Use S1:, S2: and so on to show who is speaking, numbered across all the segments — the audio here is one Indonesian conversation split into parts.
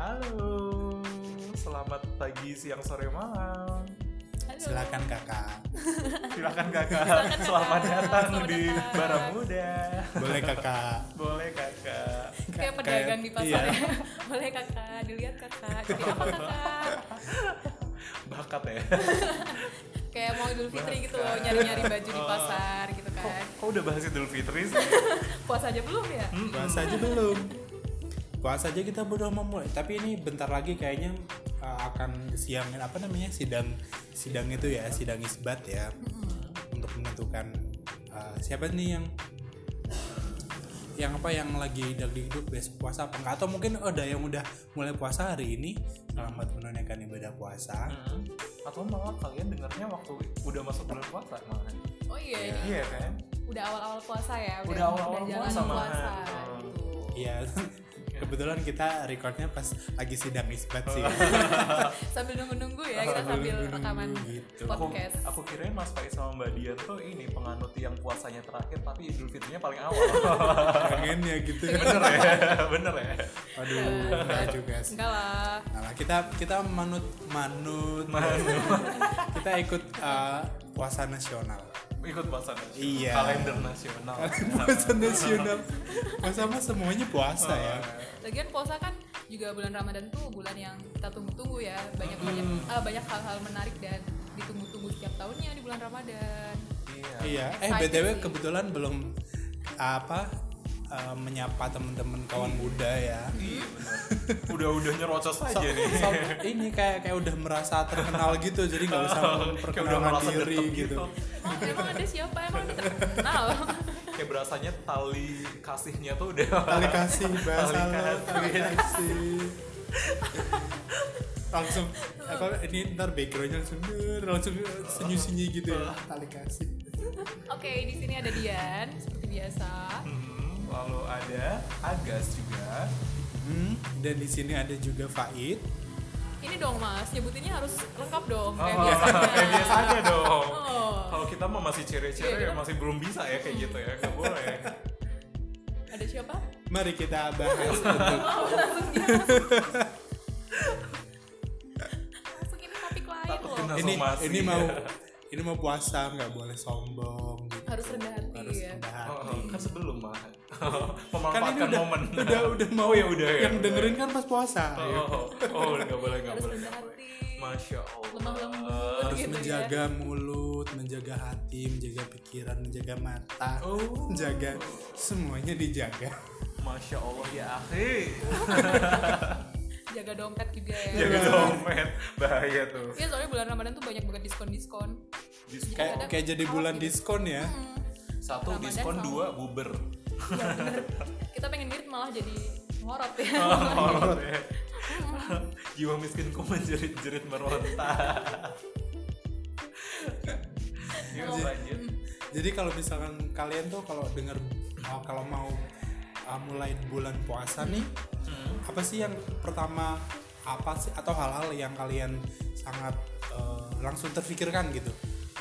S1: Halo, selamat pagi, siang, sore, malam.
S2: Halo.
S3: Silakan kakak.
S1: Silakan kakak, selamat datang
S2: Selamat
S1: di
S2: datang.
S1: Bara Muda.
S3: Boleh kakak.
S1: Boleh kakak.
S2: Kayak
S3: Kayak-
S2: pedagang di pasar
S3: iya.
S2: ya. Boleh kakak, dilihat kakak. Jadi apa kakak?
S1: Bakat ya.
S2: Kayak mau Idul Fitri gitu loh,
S1: Bahkan.
S2: nyari-nyari baju di
S1: Oh.
S2: pasar gitu kan.
S1: Kok udah bahas Idul Fitri sih?
S2: Puasa aja belum ya?
S1: Mm-mm.
S3: Puasa aja belum. Puasa aja kita udah mau mulai. Tapi ini bentar lagi kayaknya uh, akan siang apa namanya sidang sidang itu ya sidang isbat ya untuk menentukan uh, siapa nih yang yang apa yang lagi lagi hidup besok puasa apa enggak atau mungkin ada yang udah mulai puasa hari ini selamat menunaikan ibadah puasa
S1: Mm-mm. Atau malah kalian dengarnya waktu udah masuk bulan puasa malah.
S2: Oh iya, ini
S1: Iya kan?
S2: udah awal-awal puasa ya.
S1: Udah awal-awal
S2: jalan
S1: puasa, Mak.
S2: puasa
S1: Oh.
S2: gitu.
S3: Iya, kebetulan kita recordnya pas lagi sidang isbat sih.
S2: Sambil nunggu-nunggu ya, kita sambil
S3: Nunggu-nunggu
S2: rekaman
S3: gitu.
S1: Aku,
S2: podcast.
S1: aku kirain Mas Faiz sama Mbak Dian tuh ini penganut yang puasanya terakhir tapi Idul Fitrinya paling awal.
S3: Pengennya gitu.
S1: bener ya, bener ya.
S3: Aduh, enggak juga sih.
S2: Enggak lah.
S3: Nah, kita kita manut manut, kita ikut eh, puasa nasional.
S1: Ikut puasa nasional.
S3: Iya.
S1: Kalender nasional.
S3: puasa nasional. Masa mah semuanya puasa ya.
S2: Lagian puasa kan juga bulan Ramadan tuh bulan yang kita tunggu-tunggu ya. Banyak banyak ah, banyak hal-hal menarik dan ditunggu-tunggu setiap tahunnya di bulan Ramadan.
S1: Iya.
S3: Iya. Eh
S2: Excited
S3: btw
S2: sih.
S3: kebetulan belum apa eh, menyapa teman-teman kawan muda ya.
S1: Iya bener. Udah-udah nyerocos
S3: So-
S1: aja nih.
S3: so- ini kayak kayak udah merasa terkenal gitu jadi nggak usah
S1: Kayak udah
S3: memperkenalkan
S1: merasa
S3: diri
S1: deket
S3: gitu.
S1: gitu.
S2: Emang, emang ada siapa emang ada terkenal?
S1: Kayak berasanya tali kasihnya tuh udah
S3: Tali kasih bahasa
S1: Tali
S3: lo,
S1: kasih.
S3: tali kasih. langsung apa ini ntar backgroundnya langsung "Der", langsung senyum senyum gitu ya tali kasih
S2: Oke, di sini ada Dian seperti biasa.
S1: Hmm, lalu ada Agas juga.
S3: Hmm, dan di sini ada juga Faid
S2: Ini dong Mas, nyebutinnya harus lengkap dong kayak
S1: Oh, kayak
S2: biasanya.
S1: biasanya dong.
S2: Oh.
S1: Kalau kita mah masih
S2: Iya,
S1: cere-cere
S2: kita-
S1: masih belum bisa ya kayak gitu ya. Gak boleh.
S2: Ada siapa?
S3: mari kita bahas untuk
S2: Oh, langsung dia. langsung ini topik lain
S1: Takut
S2: loh.
S1: kena
S3: ini
S1: somasi.
S3: ini mau ini mau puasa nggak boleh sombong gitu.
S2: Harus rendah hati
S3: harus
S2: ya.
S3: rendah
S1: Oh,
S3: hati.
S1: oh, kan sebelum mah
S3: kan ini
S1: Oh, memanfaatkan
S3: udah
S1: momen
S3: udah udah mau
S1: Oh, ya udah ya
S3: yang
S1: udah.
S3: dengerin kan pas puasa
S1: oh, oh, oh, oh, nggak boleh nggak
S2: Harus
S1: boleh
S2: rendah
S1: nggak boleh.
S2: hati.
S1: masya allah
S2: Lemah lembut.
S3: harus
S2: Gitu ya.
S3: menjaga mulut menjaga hati menjaga pikiran menjaga mata
S1: Oh.
S3: menjaga semuanya dijaga
S1: masya allah ya akhi
S2: Jaga dompet juga ya.
S1: jaga dompet bahaya tuh
S2: Iya soalnya bulan Ramadan tuh banyak banget diskon-diskon
S1: Diskon.
S2: kadang
S3: kayak kayak jadi
S2: kalap
S3: bulan
S2: gitu.
S3: diskon ya
S1: satu
S2: Ramadan
S1: diskon
S2: sama.
S1: dua buber
S2: Iya bener Kita pengen ngirit malah jadi ngorot ya
S1: Horor ya. jiwa miskinku menjerit-jerit meronta Yuk
S3: Jadi-
S1: lanjut
S3: jadi kalau misalkan kalian tuh kalau dengar uh, kalau mau uh, mulai bulan puasa nih
S2: Hmm.
S3: apa sih yang pertama apa sih atau hal-hal yang kalian sangat uh, langsung terpikirkan gitu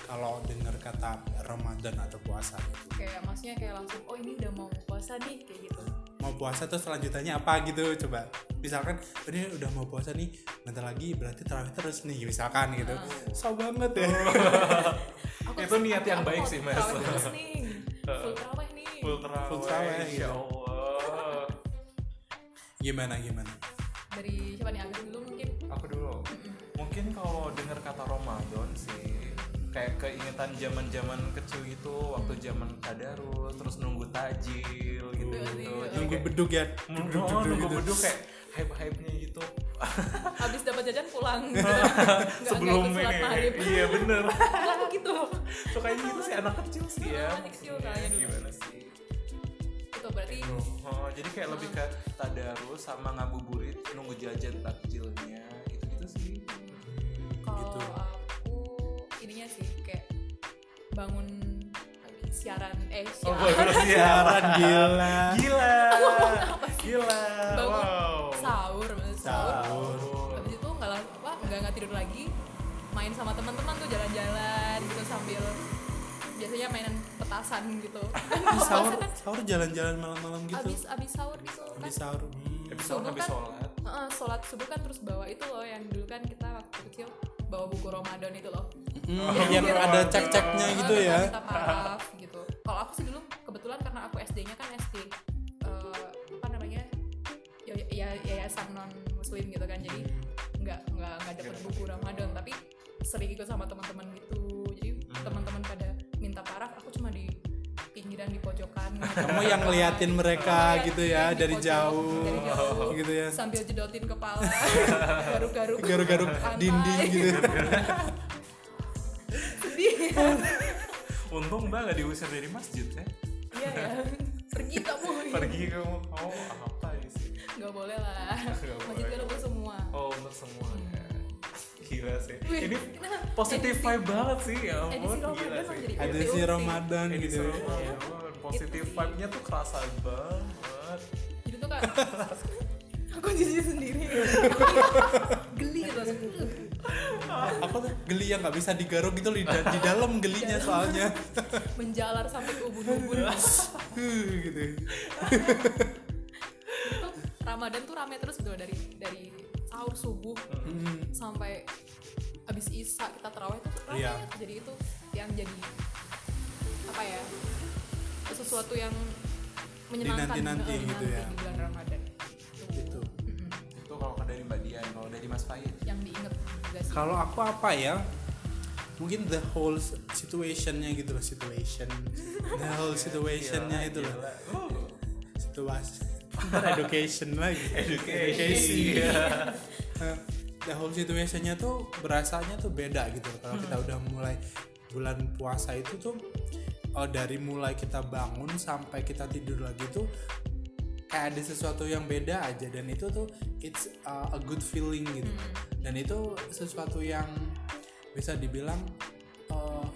S3: kalau dengar kata Ramadan atau puasa gitu
S2: Kayak maksudnya kayak langsung Oh ini udah mau puasa nih Kayak gitu
S3: mau puasa terus selanjutannya apa gitu coba misalkan ini udah mau puasa nih bentar lagi berarti terawih terus nih misalkan gitu so banget ya
S2: Aku
S1: Itu niat yang
S2: aku
S1: baik
S2: mau
S1: sih, Mas.
S2: terawih terus nih Full terawih nih
S1: full
S3: Full
S1: terawih
S3: terawih,
S1: insya
S3: gitu.
S1: allah
S3: gimana gimana
S2: Dari siapa nih Agus dulu mungkin
S1: aku dulu mungkin kalau dengar kata Ramadan sih kayak keingetan zaman zaman kecil gitu waktu zaman tadarus terus nunggu tajil gitu gitu
S2: Betul.
S3: nunggu beduk ya
S1: nunggu
S3: Beduk, beduk,
S1: oh, nunggu
S3: gitu.
S1: beduk kayak hype hype nya gitu
S2: Habis dapat jajan pulang gitu. Nggak-
S1: sebelum
S2: nggak ikut sholat maghrib
S1: ini iya bener
S2: Aku gitu
S1: suka gitu sih anak kecil sih ya
S2: Anak kecil kan, kayaknya dulu.
S1: gimana sih
S2: Itu Gitu, berarti
S1: oh, jadi kayak lebih ke tadarus sama ngabuburit nunggu jajan takjilnya gitu gitu sih
S2: Kalau
S3: gitu.
S2: aku ininya sih kayak bangun siaran eh
S1: Oh,
S2: siaran
S1: bagus
S3: siaran gila
S1: Gila. Gila.
S2: Bangun.
S1: Wow.
S2: sahur maksudnya sahur
S3: sahur
S2: habis itu nggak lang- apa nggak nggak tidur lagi main sama teman-teman tuh jalan-jalan gitu sambil biasanya mainan petasan gitu kan
S3: Ih,
S2: kalau
S3: sahur
S2: puasa kan
S3: sahur jalan-jalan malam-malam gitu
S2: abis abis sahur gitu kan
S3: habis sahur
S1: Habis Iya, sahur
S2: Subuh
S1: habis
S2: kan-
S1: sholat.
S2: eh, Heeh, sholat subuh kan terus bawa itu loh yang dulu kan kita waktu kecil bawa buku Ramadan itu loh.
S3: Mm,
S1: Oh,
S3: yang
S2: iya.
S3: ada cek-ceknya
S2: Heeh,
S3: gitu
S2: terus
S3: ya.
S2: Kita paraf gitu. Kalau aku sih dulu kebetulan karena aku SD-nya kan SD eh, apa namanya ya, ya yayasan non muslim gitu kan jadi nggak nggak nggak dapet buku Ramadan tapi sering ikut sama teman-teman gitu jadi teman-teman pada minta paraf aku cuma di pinggiran di pojokan
S3: Kamu yang ngeliatin mereka gitu ya
S2: Di
S3: dari
S2: pojok,
S3: jauh,
S2: dari jauh.
S3: gitu ya.
S2: sambil jedotin kepala garuk-garuk
S3: Garuk-garuk
S2: lantai.
S3: dinding gitu.
S2: sedih
S1: Untung mbak gak diusir dari masjid ya.
S2: iya ya pergi kamu
S1: Pergi kamu, kamu apa sih?
S2: nggak boleh lah
S1: Nggak
S2: masjid
S1: boleh.
S2: garuk semua
S1: Oh untuk semua. Gila sih.
S2: Wih,
S1: Ini
S2: nah,
S1: positif
S2: edisi-
S1: vibe banget sih ya ampun.
S2: edisi
S1: Gila
S2: Ramadan
S1: sih.
S2: menjadi
S3: Ada
S2: UT-UT.
S3: si Ramadan
S1: Edisi
S3: gitu.
S1: Ramadan. iya, Positif
S2: Itu Gitu sih.
S1: vibe-nya tuh kerasa banget.
S2: jadi Gitu tuh kak aku jijik sendiri geli terus
S3: Aku tuh geli yang nggak bisa digaruk gitu lidah di dalam gelinya soalnya.
S2: menjalar sampai ke ubun-ubun
S3: Huh, gitu.
S2: Tuh, Ramadan tuh rame terus gitu loh, dari dari sahur subuh
S1: Hmm.
S3: Mm.
S2: sampai abis isa kita terawih tuh rame
S3: Iya.
S2: tuh. jadi itu yang jadi apa ya sesuatu yang menyenangkan
S3: Dinanti-nanti
S2: eh,
S3: gitu ya.
S2: di bulan Ramadan
S3: Gitu.
S2: Mm-mm.
S1: Itu kalau dari Mbak Dian, kalau dari Mas Faiz.
S2: yang diinget juga sih
S3: Kalau aku apa ya? Mungkin the whole situationnya gitu loh, situation. The whole situationnya itu loh.
S1: Gila, gila. Oh.
S3: Situasi. Ntar education lagi.
S1: Education. Iya.
S3: Eh, the whole situationnya tuh berasanya tuh beda gitu kalau kita
S1: Hmm.
S3: udah mulai bulan puasa itu tuh eh, dari mulai kita bangun sampai kita tidur lagi tuh kayak ada sesuatu yang beda aja dan itu tuh it's uh, a good feeling gitu dan itu sesuatu yang bisa dibilang eh,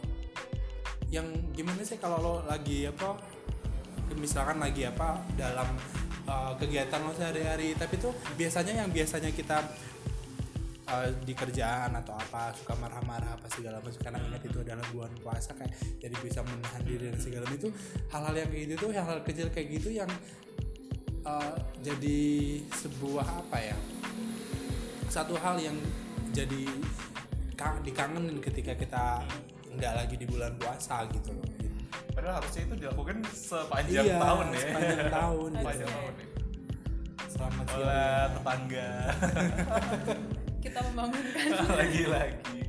S3: yang gimana sih kalau lo lagi apa misalkan lagi apa dalam uh, kegiatan lo sehari-hari tapi tuh biasanya yang biasanya kita uh, di kerjaan atau apa suka marah-marah apa segala macam karena ingat itu adalah bulan puasa kayak jadi bisa menahan diri dan segala macam itu hal-hal yang kayak gitu tuh hal-hal kecil kayak gitu yang uh, jadi sebuah apa ya satu hal yang jadi ka- dikangenin ketika kita nggak lagi di bulan puasa gitu loh
S1: Padahal harusnya itu dilakukan sepanjang
S3: Iya,
S1: tahun ya.
S3: sepanjang tahun gitu.
S1: Sepanjang tahun ya.
S3: selamat siang
S1: Oleh tetangga
S2: kita membangunkan
S1: lagi-lagi.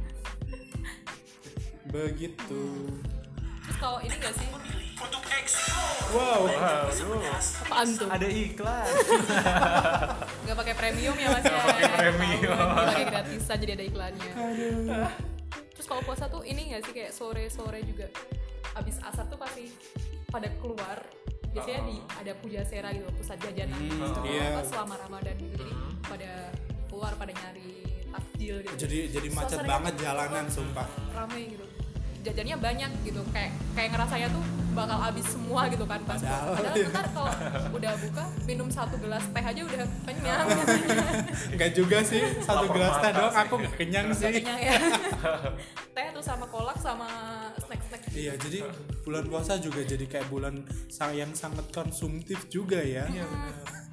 S3: begitu
S2: terus kalau ini gak sih
S3: wow
S2: Iya,
S1: Waduh,
S2: apaan tuh
S1: ada iklan.
S2: nggak pakai premium ya mas ya
S1: Nggak pakai premium.
S2: Nggak pakai gratis aja jadi ada iklannya terus kalau puasa tuh ini nggak sih kayak sore sore juga abis asar tuh pasti pada keluar biasanya di
S1: Ah.
S2: ada puja sera gitu pusat jajanan
S3: Hmm,
S2: gitu
S3: iya.
S2: apa selama ramadan gitu jadi
S1: Hmm.
S2: pada keluar pada nyari takjil gitu
S3: jadi jadi macet
S2: Suasananya
S3: banget jalanan sumpah
S2: rame gitu jajannya banyak gitu kayak kayak ngerasanya tuh bakal habis semua gitu kan pas puasa.
S3: Padahal,
S2: padahal
S3: iya.
S2: ntar kalau udah buka minum satu gelas teh aja udah kenyang gitu
S3: nggak juga sih satu
S1: Lapar
S3: gelas teh
S1: mata
S3: doang
S1: sih.
S3: aku kenyang sih
S2: kenyang ya teh terus sama kolak sama snack snack
S3: iya jadi bulan puasa juga jadi kayak bulan sa- yang sangat konsumtif juga ya
S2: Hmm,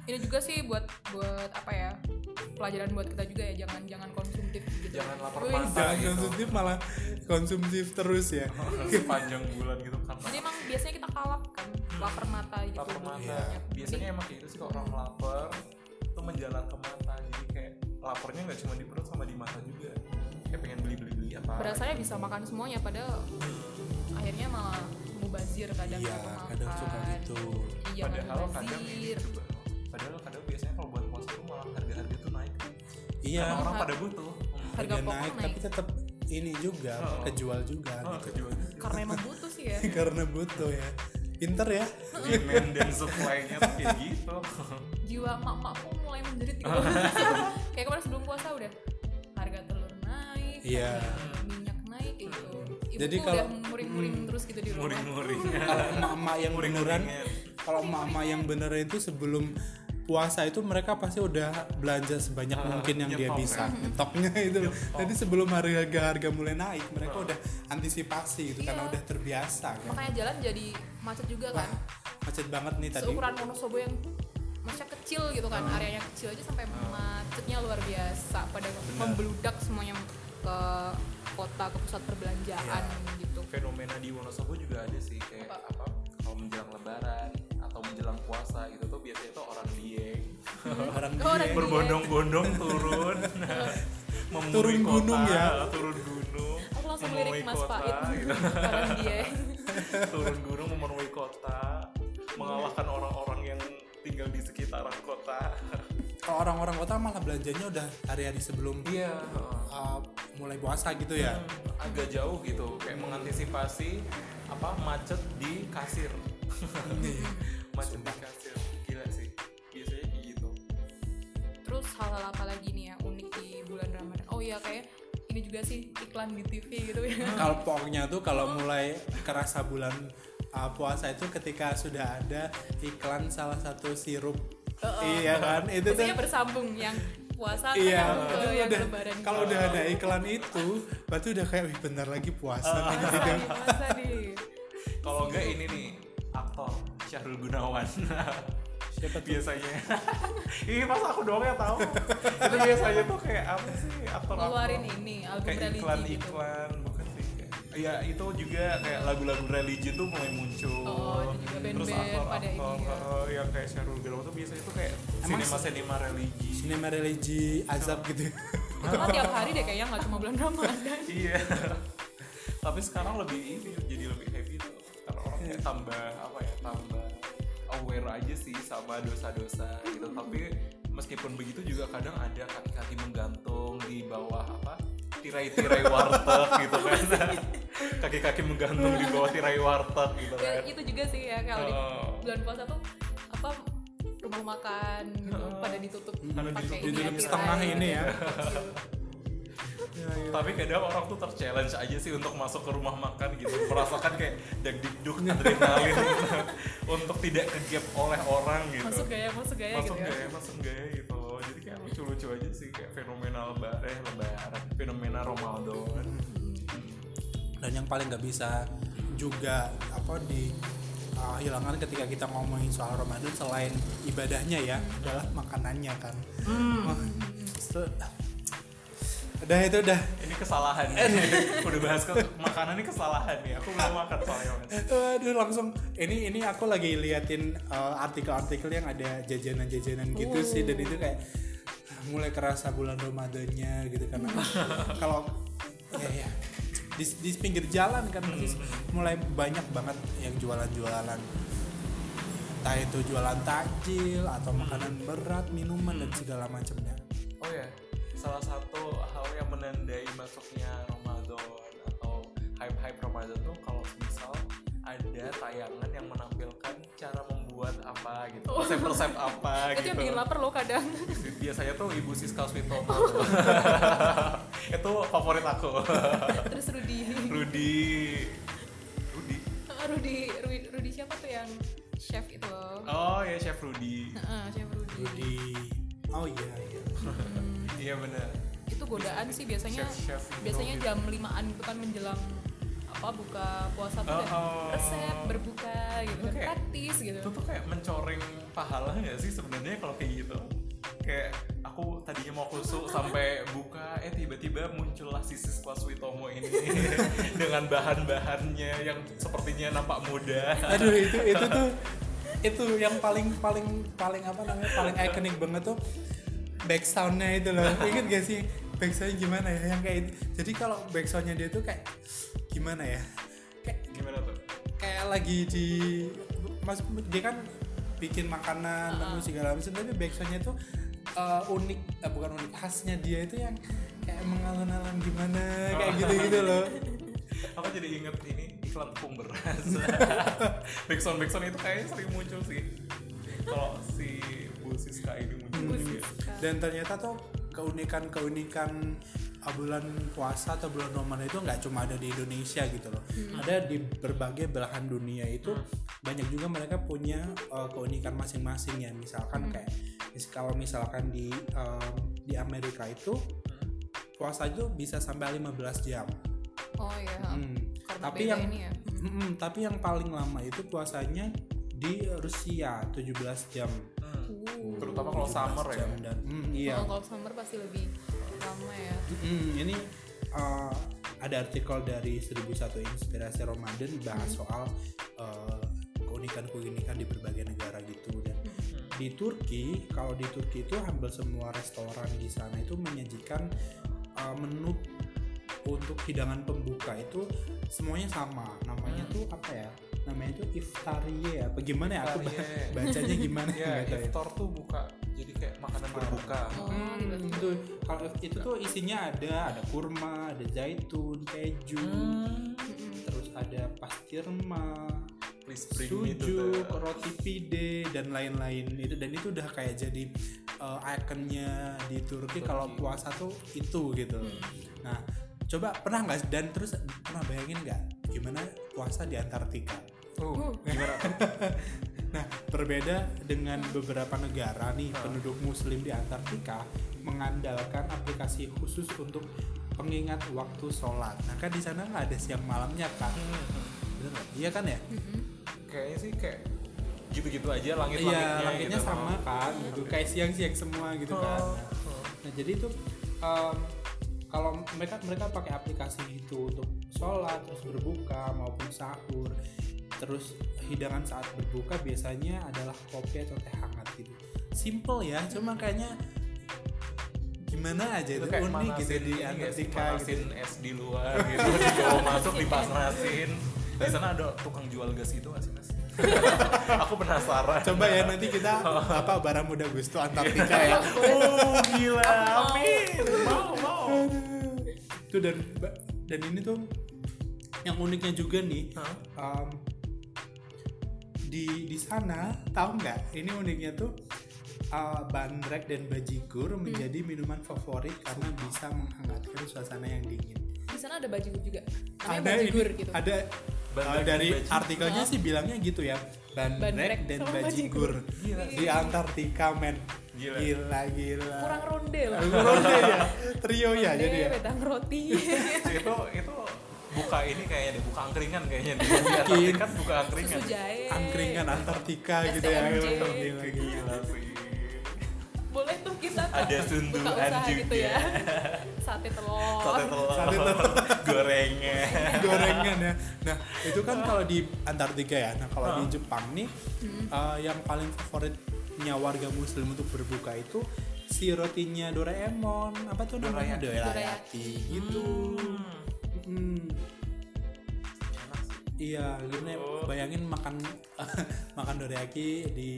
S2: ini juga sih buat buat apa ya pelajaran buat kita juga ya jangan jangan konsumtif gitu
S1: Jangan lapar
S2: Wih.
S1: mata.
S3: jangan
S1: Gitu.
S3: konsumtif malah konsumtif terus ya
S1: sepanjang bulan gitu karena
S2: jadi emang biasanya kita kalap kan lapar mata gitu
S1: lapar mata.
S3: Iya.
S1: Biasanya emang kayak gitu sih kalau orang lapar itu menjalar ke mata. Jadi kayak laparnya nggak cuma di perut sama di mata juga. Kayak pengen beli beli beli apa.
S2: berasanya bisa makan semuanya padahal akhirnya malah mubazir kadang
S3: iya
S2: suka makan.
S3: kadang suka gitu
S2: Jadi jangan
S1: Padahal kadang ini
S2: mubazir
S1: juga. Padahal kadang biasanya kalau buat puasa tuh malah harga-harga tuh naik.
S3: iya
S1: Karena orang
S2: Har-
S1: pada butuh. Hmm.
S2: harga
S3: harga
S2: pokok
S3: naik
S2: naik.
S3: tapi tetap ini juga
S1: Oh.
S3: kejual juga
S1: Oh,
S3: gitu
S1: kejual.
S2: karena emang butuh sih ya
S3: karena butuh ya pinter ya
S1: demand dan supply-nya tuh kayak gitu.
S2: jiwa emak-emakku mulai menjerit gitu.
S3: Ah.
S2: kayak kemarin sebelum puasa udah harga telur naik,
S3: Iya.
S2: harga minyak naik gitu. Ibu
S3: Jadi
S2: tuh
S3: kalau- Hmm.
S2: udah muring-muring terus gitu di rumah.
S1: Muring-muring.
S3: kalau emak-emak yang beneran
S1: Muring-muringan.
S3: kalau emak-emak yang beneran itu sebelum puasa itu mereka pasti udah belanja sebanyak
S1: Ah,
S3: mungkin yang dia
S1: nyetok
S3: bisa nyetoknya itu loh. jadi sebelum harga harga mulai naik mereka udah antisipasi gitu karena
S2: Iya.
S3: udah terbiasa kan
S2: Makanya jalan jadi macet juga kan.
S3: macet banget nih tadi Ah.
S2: Seukuran Wonosobo yang macet kecil gitu kan, areanya kecil aja sampai memat naiknya luar biasa pada membludak semuanya ke kota ke pusat perbelanjaan
S3: Iya.
S2: gitu
S1: fenomena di Wonosobo juga ada sih kayak apa, kalau menjelang lebaran atau menjelang puasa itu tuh biasanya tuh orang dieng
S3: orang
S2: Oh, orang
S3: dieng.
S2: Dieng.
S1: berbondong-bondong turun memuri
S3: Turun
S1: kota,
S3: gunung ya.
S1: turun gunung
S2: aku langsung
S1: memuri
S2: lirik mas
S1: kota
S2: Faiz
S1: gitu.
S2: orang dia
S1: turun gunung memenuhi kota mengalahkan orang-orang yang tinggal di sekitaran kota
S3: Kalau orang-orang kota malah belanjanya udah hari-hari sebelum
S1: iya Hmm.
S3: uh, mulai puasa gitu ya.
S1: agak jauh gitu kayak mengantisipasi apa macet di kasir macet di kasir gila sih biasanya kayak gitu
S2: terus hal-hal apa lagi nih ya unik di bulan Ramadan oh iya kayak ini juga sih iklan di TV gitu ya
S3: Kalau pokoknya tuh kalau mulai kerasa bulan uh, puasa itu ketika sudah ada iklan salah satu sirup. Iya kan? Itu tuh
S2: biasanya bersambung yang puasa kan
S3: Iya,
S2: yang ke
S3: itu
S2: yang
S3: udah-
S2: lebaran gitu.
S3: kalau udah ada iklan itu, berarti udah kayak "Wih, bentar lagi puasa nih
S2: puasa
S3: gitu.
S2: nih puasa nih
S1: kalau enggak ini nih aktor Syahrul Gunawan
S3: Siapa tuh?
S1: biasanya ini pas aku doang yang tahu itu biasanya tuh kayak apa sih aktor
S2: ngeluarin ini album
S1: kayak
S2: religi
S1: iklan
S2: gitu
S1: iklan bukan sih kayak- ya itu juga kayak lagu-lagu religi tuh mulai muncul
S2: Oh, itu juga
S1: terus
S2: band-band
S1: aktor
S2: pada ini
S1: aktor
S2: ya.
S1: yang kayak Syahrul Gunawan tuh biasanya tuh kayak
S3: Emang
S1: sinema sinema religi
S3: Sinema religi azab gitu.
S2: itu kan tiap hari deh kayaknya nggak cuma bulan Ramadan Ya,
S1: iya tapi sekarang lebih ini jadi lebih happy tuh karena orang kayak tambah apa ya tambah aware aja sih sama dosa-dosa gitu tapi meskipun begitu juga kadang ada kaki-kaki menggantung di bawah apa tirai-tirai warteg gitu kan kaki-kaki menggantung di bawah tirai warteg gitu
S2: ya,
S1: kan
S2: itu juga sih ya kalau di
S1: Oh.
S2: bulan puasa tuh apa rumah makan gitu, pada ditutup
S1: Karena
S2: pakai
S1: ditutup-
S2: ini
S3: Ditutup
S2: ya,
S3: setengah
S2: tirai
S3: ini ya.
S2: gitu.
S1: tapi kadang orang tuh terchallenge aja sih untuk masuk ke rumah makan gitu merasakan kayak dag digduk adrenalin gitu. untuk tidak kegap oleh orang gitu
S2: masuk gaya masuk gaya
S1: masuk
S2: gitu ya
S1: gaya masuk gaya gitu jadi kayak lucu-lucu aja sih kayak fenomena lebaran eh, lebaran fenomena Ramadan
S3: Dan yang paling nggak bisa juga apa di uh, hilangkan ketika kita ngomongin soal Ramadan selain ibadahnya ya adalah makanannya kan. Udah Udah itu udah.
S1: ini kesalahan Eh, nih. udah bahas ke makanan ini kesalahan nih aku belum makan soalnya Mas.
S3: Aduh langsung ini ini aku lagi liatin uh, artikel-artikel yang ada jajanan-jajanan gitu
S2: Oh.
S3: sih dan itu kayak mulai kerasa bulan Ramadannya gitu karena kalau ya ya di, di pinggir jalan kan pasti mulai banyak banget yang jualan-jualan entah itu jualan takjil atau makanan berat minuman dan segala macamnya
S1: oh ya salah satu hal yang menandai masuknya Ramadan atau hype-hype Ramadan tuh kalau misal ada tayangan yang menampilkan cara membuat apa gitu
S2: Oh.
S1: resep-resep apa
S2: itu
S1: gitu
S2: yang bikin lapar loh kadang
S1: biasanya tuh ibu Siska Switomo itu favorit aku
S2: terus Rudi
S1: Rudy Rudy
S2: Rudi Rudi Rudi siapa tuh yang chef itu loh
S1: oh ya chef Rudy
S2: Heeh, chef Rudi
S3: di oh iya iya
S1: iya benar
S2: itu godaan sih biasanya
S1: Chef- chef Indo
S2: biasanya
S1: gitu.
S2: jam limaan itu kan menjelang apa buka puasa tuh
S1: Oh,
S2: kan
S1: oh.
S2: resep berbuka gitu kan
S1: Oke.
S2: praktis gitu
S1: itu tuh kayak mencoreng pahala nggak sih sebenarnya kalau kayak gitu kayak aku tadinya mau kusuk sampai buka eh tiba-tiba muncullah si Siska Switomo ini dengan bahan-bahannya yang sepertinya nampak muda
S3: aduh itu itu tuh itu yang paling paling paling apa namanya paling ikonik banget tuh back soundnya itu loh inget gak sih back soundnya gimana ya yang kayak itu jadi kalau back soundnya dia tuh kayak gimana ya kayak
S1: gimana tuh
S3: kayak lagi di mas dia kan bikin makanan dan segala macam tapi back soundnya tuh eh, unik eh, bukan unik khasnya dia itu yang kayak mengalun-alun gimana kayak
S1: Oh.
S3: gitu-gitu loh
S1: aku jadi inget ini iklan tepung beras backsound backsound itu kayaknya sering muncul sih kalau si Bu Siska ini muncul juga
S3: dan ternyata tuh keunikan-keunikan uh, bulan puasa atau bulan Ramadan itu nggak cuma ada di Indonesia gitu loh
S2: Hmm.
S3: ada di berbagai belahan dunia itu banyak juga mereka punya uh, keunikan masing-masing ya
S2: Hmm.
S3: misalkan kayak mis- kalau misalkan di um, di Amerika itu puasa itu bisa sampai 15 jam
S2: oh iya
S3: Hmm.
S2: Karena
S3: tapi
S2: beda
S3: yang
S2: ini ya
S3: Mm-mm, tapi yang paling lama itu puasanya di Rusia 17 jam
S1: Hmm.
S2: nunggu
S1: terutama kalau summer ya
S3: jam dan Hmm, iya
S2: Kalau- kalau summer pasti lebih lama ya
S3: Hmm, ini uh, ada artikel dari 1001 Inspirasi Ramadan bahas soal uh, keunikan-keunikan di berbagai negara gitu dan
S1: hmm.
S3: di Turki kalau di Turki itu hampir semua restoran di sana itu menyajikan uh, menu untuk hidangan pembuka itu semuanya sama namanya
S1: Hmm.
S3: tuh apa ya namanya tuh iftariye apa gimana ya aku ba-
S1: Iftariye.
S3: bacanya gimana
S1: ya
S3: nggak tahu ya.
S1: iftar tuh buka jadi kayak makanan berbuka
S2: Oh, gitu.
S3: Hmm, itu kalau itu tuh isinya ada ada kurma, ada zaitun, keju,
S1: Hmm.
S3: Hmm.
S2: Mm-mm.
S3: terus ada pastirma,
S1: please bring me to the
S3: sujuk, roti pide dan lain-lain itu dan itu udah kayak jadi uh, ikonnya di Turki
S1: Turki.
S3: kalau puasa tuh itu gitu. Nah, coba pernah nggak dan terus pernah bayangin nggak gimana puasa di Antartika?
S2: Uh,
S1: oh, gimana tuh?
S3: Nah, berbeda dengan beberapa negara
S1: Iya.
S3: nih, penduduk muslim di Antartika mengandalkan aplikasi khusus untuk pengingat waktu sholat. Nah, kan di sana nggak ada siang malamnya kan?
S1: Iya.
S3: Bener nggak? Iya kan ya?
S1: kayaknya sih kayak gitu-gitu aja langit-langitnya
S3: Iya, langitnya
S1: gitu.
S3: sama kan, gitu. kayak siang-siang semua gitu kan.
S1: Oh,
S3: Nah,
S1: oh.
S3: Nah jadi itu em, kalau mereka mereka pakai aplikasi itu untuk sholat terus berbuka maupun sahur terus hidangan saat berbuka biasanya adalah kopi atau teh hangat gitu simple ya cuma kayaknya gimana aja itu,
S1: kayak
S3: unik gitu
S1: manasin
S3: di
S1: ini nggak sih,
S3: Antartika
S1: manasin
S3: gitu
S1: es di luar gitu dibawa masuk dipanasin di sana ada tukang jual gas itu nggak sih mas aku penasaran
S3: coba ya nanti kita apa barang muda gusto Antartika ya
S1: oh gila amin mau mau
S3: itu dan dan ini tuh yang uniknya juga nih
S1: Hah?
S3: em, di di sana tahu nggak ini uniknya tuh eh, bandrek dan bajigur
S2: Hmm.
S3: menjadi minuman favorit karena bisa menghangatkan suasana yang dingin
S2: di sana ada bajigur juga namanya
S3: ada ini-
S2: bajigur gitu
S3: ada
S1: Bandrek
S3: eh, dari
S1: dan bajigur.
S3: artikelnya sih bilangnya gitu ya bandrek,
S2: Bandrek
S3: dan
S2: sama
S3: bajigur,
S1: Gila.
S3: di Antartika men
S1: Gila.
S3: gila gila
S2: kurang ronde lah
S3: Ronde ya trio ya
S2: Ronde,
S3: jadi ya
S2: wedang roti
S1: itu itu buka ini kayaknya deh buka angkringan kayaknya deh
S3: Mungkin.
S1: Mungkin. kan buka angkringan
S2: susu jahe
S3: angkringan Antartika gitu ya
S2: STMJ.
S3: Gila, gila.
S1: gila sih
S2: boleh tuh kita
S1: Ada sunduan
S2: buka usaha
S1: juga.
S2: gitu ya sate telur
S1: sate
S3: Sate
S1: telur
S3: telur.
S1: gorengan
S3: gorengan ya nah itu kan kalau di Antartika ya nah kalau
S1: Ah.
S3: di Jepang nih
S2: Hmm.
S3: eh, yang paling favoritnya warga Muslim untuk berbuka itu si rotinya Doraemon apa tuh namanya
S1: Dorayaki.
S3: Dorayaki gitu
S2: Hmm.
S3: Mm. Iya, gimana ya,
S1: Oh.
S3: bayangin makan makan dorayaki di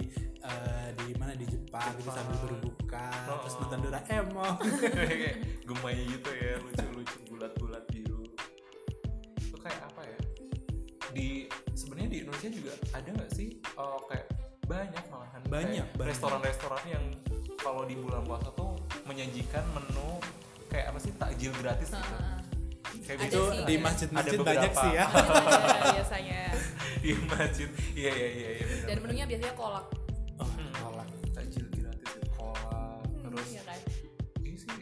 S3: eh, di mana di Jepang, gitu sambil berbuka,
S1: Oh.
S3: terus nonton Doraemon.
S1: kayak gemai gitu ya lucu lucu bulat bulat biru itu kayak apa ya di sebenarnya di Indonesia juga ada nggak sih eh, kayak banyak malahan
S3: Banyak,
S1: Kayak
S3: banyak.
S1: restoran-restoran yang kalau di bulan puasa tuh menyajikan menu kayak apa sih takjil gratis gitu
S2: Heeh.
S1: kayak
S2: Ada
S3: itu
S1: gitu.
S2: sih.
S3: di
S2: ada-
S3: masjid-masjid
S1: ada
S3: banyak
S1: beberapa.
S3: sih ya.
S2: Biasanya, biasanya
S1: di masjid iya iya iya iya benar,
S2: dan
S1: benar.
S2: menunya biasanya kolak
S3: Oh,
S1: Hmm.
S3: kolak.
S1: takjil gratis gitu. kolak terus
S2: ya kan
S1: ini sih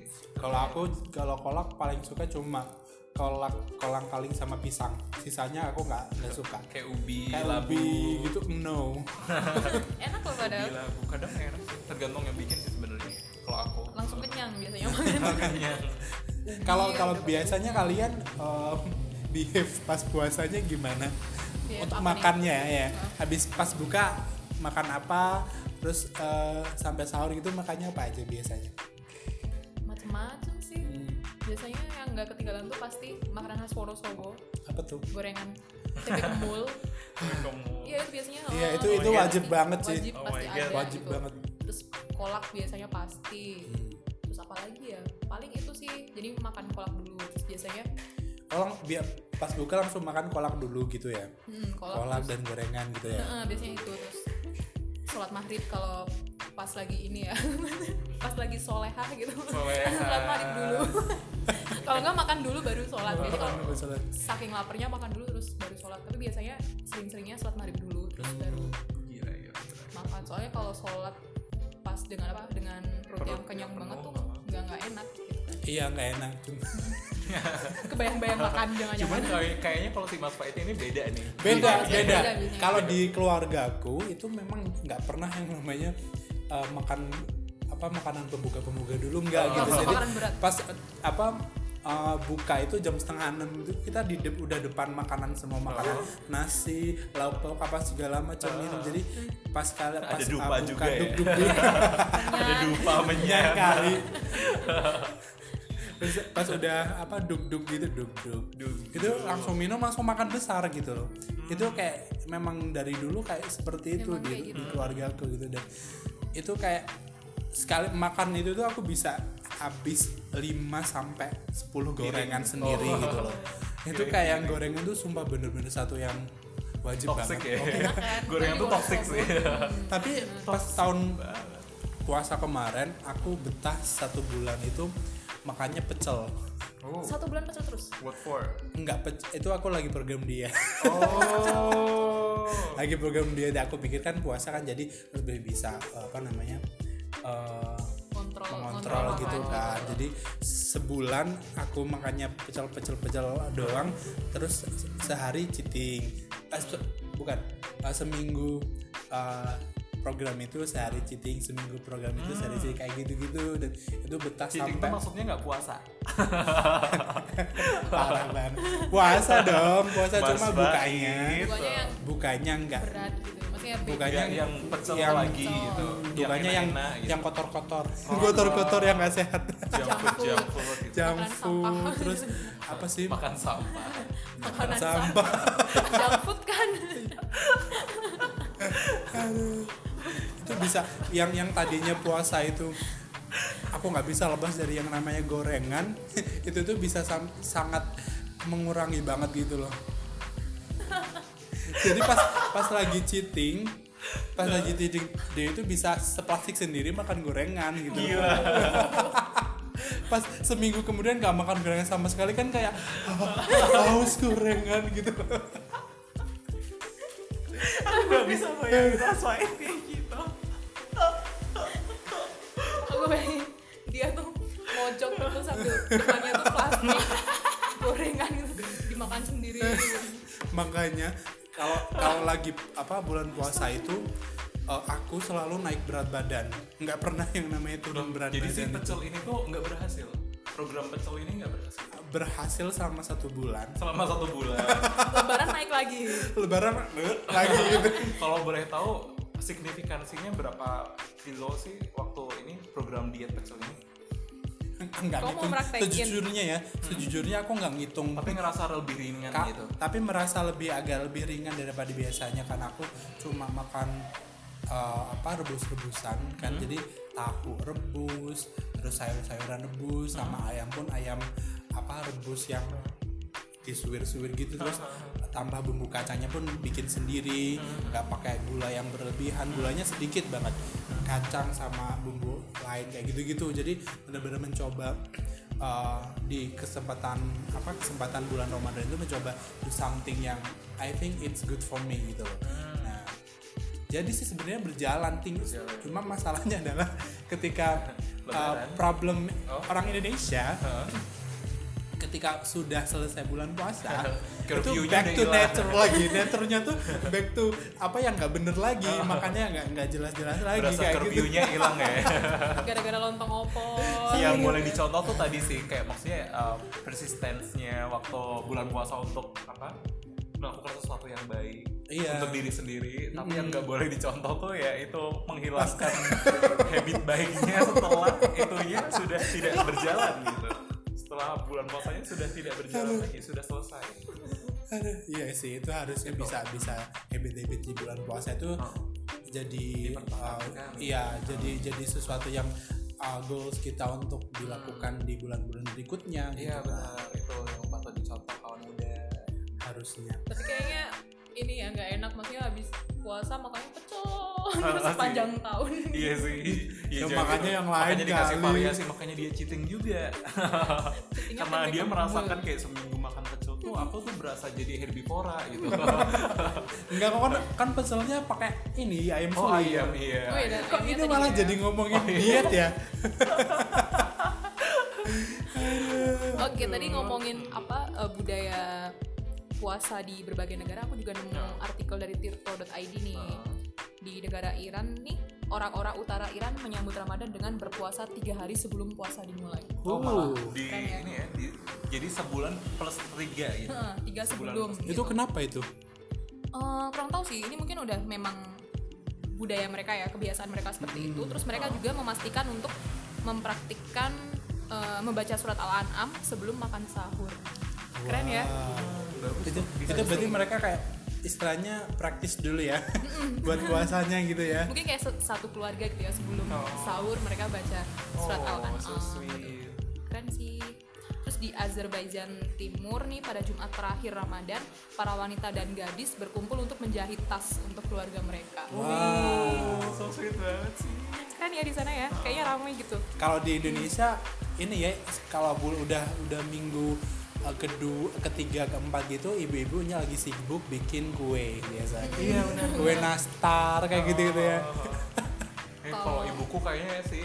S3: Kalau aku kalau kolak paling suka cuma kolak kolang kaling sama pisang. Sisanya aku nggak nggak suka.
S1: kayak ubi
S3: Kayak
S1: labu
S3: lebih gitu no.
S2: enak loh pada
S1: ubi labu kadang enak sih tergantung yang bikin sih sebenarnya kalau aku
S2: langsung kenyang biasanya makan
S1: makanya
S3: Kalau
S2: Iya,
S3: kalau
S2: udah
S3: biasanya kalian em, behave pas puasanya gimana?
S2: Behave
S3: Untuk
S2: apa nih?
S3: makannya ya. Habis pas buka makan apa? Terus eh, sampai sahur gitu makannya apa aja biasanya?
S2: macem-macem sih biasanya yang nggak ketinggalan tuh pasti makanan khas Wonosobo
S3: Apa tuh?
S2: gorengan tempe kemul
S1: kamu
S2: iya itu biasanya
S3: Iya,
S2: oh,
S3: itu itu
S1: my God.
S3: wajib banget sih.
S2: wajib
S1: Oh
S2: pasti
S1: my
S2: ada
S1: God.
S3: Wajib
S2: gitu.
S3: banget.
S2: terus kolak biasanya pasti
S3: Hmm.
S2: terus apa lagi ya paling itu sih jadi makan kolak dulu terus biasanya
S3: Orang biar pas buka langsung makan kolak dulu gitu ya.
S2: hmm, kolak,
S3: Kolak
S2: terus-
S3: dan gorengan gitu ya.
S2: Heeh, biasanya itu terus sholat maghrib kalau pas lagi ini ya pas lagi solehah gitu
S1: Solehah.
S2: sholat maghrib dulu kalau nggak makan dulu baru sholat jadi kalau
S3: Makan misalnya.
S2: saking laparnya makan dulu terus baru sholat tapi biasanya sering-seringnya sholat maghrib dulu terus
S1: Hmm.
S2: baru
S1: gila iya, gila gila.
S2: makan soalnya kalau sholat pas dengan apa dengan perut
S1: Perut ya. Oh,
S2: yang kenyang
S1: yang
S2: banget
S1: penuh,
S2: tuh
S1: heeh.
S2: nggak nggak enak gitu kan
S3: Iya nggak enak cuma
S2: kebayang-bayang makan jangan
S1: cuman
S2: jangan
S1: kayak- kayaknya kalau si Mas Faiti ini beda nih
S3: beda
S2: Iya,
S3: beda.
S2: beda biasanya.
S3: Kalau di keluargaku itu memang nggak pernah yang namanya eh, makan apa makanan pembuka pembuka dulu nggak
S1: Oh.
S3: gitu
S1: Langsung
S3: jadi
S2: makanan berat.
S3: pas eh, apa eh, buka itu jam setengah enam itu kita di de- udah depan makanan semua makanan nasi lauk lauk apa segala macam minum jadi pas kali
S1: Ada
S3: pas eh,
S1: dupa
S3: buka, gitu.
S1: juga ya.
S3: dup- dup- dup.
S1: ada dupa
S3: Yang
S1: menyang
S3: kali Iya. Terus pas udah apa duk duk gitu duk duk
S1: Duk.
S3: itu langsung minum langsung makan besar gitu loh
S1: Hmm.
S3: itu kayak memang dari dulu kayak seperti itu
S2: Memang
S3: di,
S2: kayak gitu.
S3: di keluarga aku gitu dan itu kayak sekali makan itu tuh aku bisa habis 5 sampai 10 gorengan sendiri
S1: Oh.
S3: gitu loh itu
S1: Piring,
S3: kayak yang gorengan tuh sumpah bener-bener satu yang wajib
S1: toxic ya
S3: banget
S2: Enak kan?
S1: gorengan tuh
S2: Apalagi
S1: toxic
S2: kalau
S1: sih
S3: tapi pas tahun eh, puasa kemarin aku betah satu bulan itu makannya pecel
S1: oh
S2: Satu bulan pecel terus.
S1: what for
S3: nggak pec- itu aku lagi program dia
S1: oh
S3: lagi program dia aku pikirkan puasa kan jadi lebih bisa eh, apa namanya eh,
S2: Kontrol,
S3: mengontrol gitu
S2: makan.
S3: kan jadi sebulan aku makannya pecel pecel pecel doang terus se- sehari cheating Eh, se- bukan Eh, seminggu eh, program itu sehari cheating seminggu program itu sehari cheating kayak gitu gitu dan itu betah
S1: cheating
S3: sampai
S1: tuh maksudnya nggak puasa
S3: parah banget puasa dong puasa
S1: Mas
S3: cuma
S1: Baim.
S3: bukanya
S2: Bukannya yang
S3: bukanya enggak
S2: berat gitu. Maksudnya big.
S3: Bukannya
S1: yang, yang pecel
S3: yang-
S1: lagi
S2: Pecel.
S1: gitu
S3: bukanya yang
S1: enak-enak gitu.
S3: yang kotor kotor kotor kotor yang nggak sehat
S1: junk food junk food gitu
S3: junk
S2: Makanan
S3: food
S2: sampah.
S3: terus apa sih
S1: makan sampah
S2: makanan
S3: sampah
S2: junk food kan.
S3: itu bisa yang yang tadinya puasa itu aku nggak bisa lepas dari yang namanya gorengan itu tuh bisa sam- sangat mengurangi banget gitu loh jadi pas pas lagi cheating pas lagi cheating dia itu bisa seplastik sendiri makan gorengan gitu
S1: gila
S3: pas seminggu kemudian nggak makan gorengan sama sekali kan kayak "Ah, haus gorengan gitu
S1: nggak bisa bayangin rasain kayak gitu
S2: Aku bayangin dia tuh mojok gitu sambil depannya tuh plastik gorengan gitu dimakan sendiri. gitu.
S3: makanya kalau kalau lagi apa bulan puasa itu eh, aku selalu naik berat badan nggak pernah yang namanya turun berat
S1: jadi si
S3: badan
S1: pecel ini tuh nggak berhasil program pecel ini nggak berhasil
S3: berhasil selama satu bulan
S1: selama satu bulan
S2: Lebaran naik lagi.
S3: lebaran eh, lagi gitu
S1: kalau boleh tahu signifikansinya berapa kilo sih waktu ini program diet pecel ini
S3: nggak
S2: Kamu mau
S3: ngitung
S2: praktekin?
S3: sejujurnya ya sejujurnya aku nggak ngitung
S1: tapi ngerasa lebih ringan
S3: Ka-
S1: gitu
S3: tapi merasa lebih agak lebih ringan daripada biasanya karena aku cuma makan eh, apa rebus-rebusan kan
S1: Hmm.
S3: jadi tahu rebus terus sayur-sayuran rebus
S1: Hmm.
S3: sama ayam pun ayam apa rebus yang disuwir-suwir gitu terus tambah bumbu kacangnya pun bikin sendiri nggak pakai gula yang berlebihan gulanya sedikit banget kacang sama bumbu lain kayak gitu-gitu jadi benar-benar mencoba uh, di kesempatan apa kesempatan bulan Ramadan itu mencoba do something yang I think it's good for me gitu loh nah jadi sih sebenarnya berjalan ting
S1: Hmm. Berjalan.
S3: cuma masalahnya adalah ketika uh,
S1: Lebaran.
S3: problem
S1: Oh.
S3: orang Indonesia
S1: Hah?
S3: ketika sudah selesai bulan puasa itu
S1: Curfew-nya udah
S3: back to
S1: hilang.
S3: nature lagi naturenya tuh back to apa yang nggak bener lagi makanya nggak nggak jelas-jelas lagi
S1: berasa
S3: kayak gitu
S1: curfew-nya hilang ya
S2: Gara-gara lontong
S3: Oh,
S2: opor.
S3: iya,
S1: yang Iya, boleh dicontoh tuh tadi sih kayak maksudnya um, persistensnya waktu bulan puasa untuk apa melakukan sesuatu yang baik
S3: Iya.
S1: untuk diri sendiri tapi yang nggak boleh dicontoh tuh ya itu menghilangkan habit baiknya setelah itunya sudah tidak berjalan gitu setelah bulan puasanya sudah tidak berjalan lagi sudah selesai
S3: Aduh, iya sih itu harusnya bisa bisa habit habit di bulan puasa itu jadi
S1: Oh. Dipertahankan.
S3: uh, iya jadi jadi sesuatu yang uh, goals kita untuk dilakukan di bulan-bulan berikutnya
S1: iya
S3: gitu kan.
S1: benar itu yang patut dicontoh kawan muda
S3: harusnya
S2: tapi kayaknya ini ya nggak enak maksudnya habis puasa makanya pecel
S1: Parah
S2: terus
S1: sih.
S2: sepanjang tahun
S1: Ah, iya sih
S3: Ya,
S1: jangan
S3: makanya
S1: gitu.
S3: yang lain
S1: makanya dikasih
S3: kali.
S1: variasi makanya dia cheating juga karena
S2: Ingat
S3: kan
S2: sampai
S1: dia
S2: ke
S1: merasakan
S2: mulut.
S1: kayak seminggu makan pecel tuh aku tuh berasa jadi herbivora gitu
S3: enggak kok kan kan pecelnya pakai ini ayam
S1: oh
S3: suwir.
S1: ayam iya Oh,
S2: Oh, iya, dan
S3: kok
S2: akhirnya
S3: ini
S2: tadi
S3: malah
S2: ya.
S3: jadi ngomongin diet ya
S2: Oke tadi ngomongin apa eh, budaya puasa di
S1: Ya. Ah.
S2: berbagai negara aku juga nemu artikel dari tirto.id nih di negara Iran nih orang-orang utara Iran menyambut Ramadan dengan berpuasa tiga hari sebelum puasa dimulai.
S1: Oh, malah
S3: Uh,
S1: di
S2: Keren ya.
S1: ini ya. di- jadi sebulan plus tiga gitu.
S2: Heeh, tiga
S1: Sebulan
S2: sebelum.
S1: pasti.
S2: gitu.
S3: itu kenapa itu
S2: Eh, kurang tahu sih ini mungkin udah memang budaya mereka ya kebiasaan mereka seperti itu terus mereka juga memastikan untuk mempraktikkan eh, membaca surat al-an'am sebelum makan sahur keren ya
S1: Bagus.
S3: itu itu berarti mereka kayak istilahnya praktis dulu ya buat puasanya gitu ya
S2: mungkin kayak se- satu keluarga gitu ya sebelum
S1: Oh.
S2: sahur mereka baca surat
S1: Oh,
S2: al-an'am
S1: so sweet.
S2: keren sih terus di Azerbaijan Timur nih pada Jumat terakhir Ramadan para wanita dan gadis berkumpul untuk menjahit tas untuk keluarga mereka
S1: Wow, so sweet banget sih.
S2: keren ya di sana ya kayaknya ramai gitu
S3: kalau di Indonesia ini ya kalau bul- udah udah minggu eh, kedua ketiga keempat gitu ibu-ibunya lagi sibuk bikin kue biasanya
S1: Iya benar.
S3: kue nastar kayak gitu gitu ya
S1: Eh, kalau ibuku kayaknya sih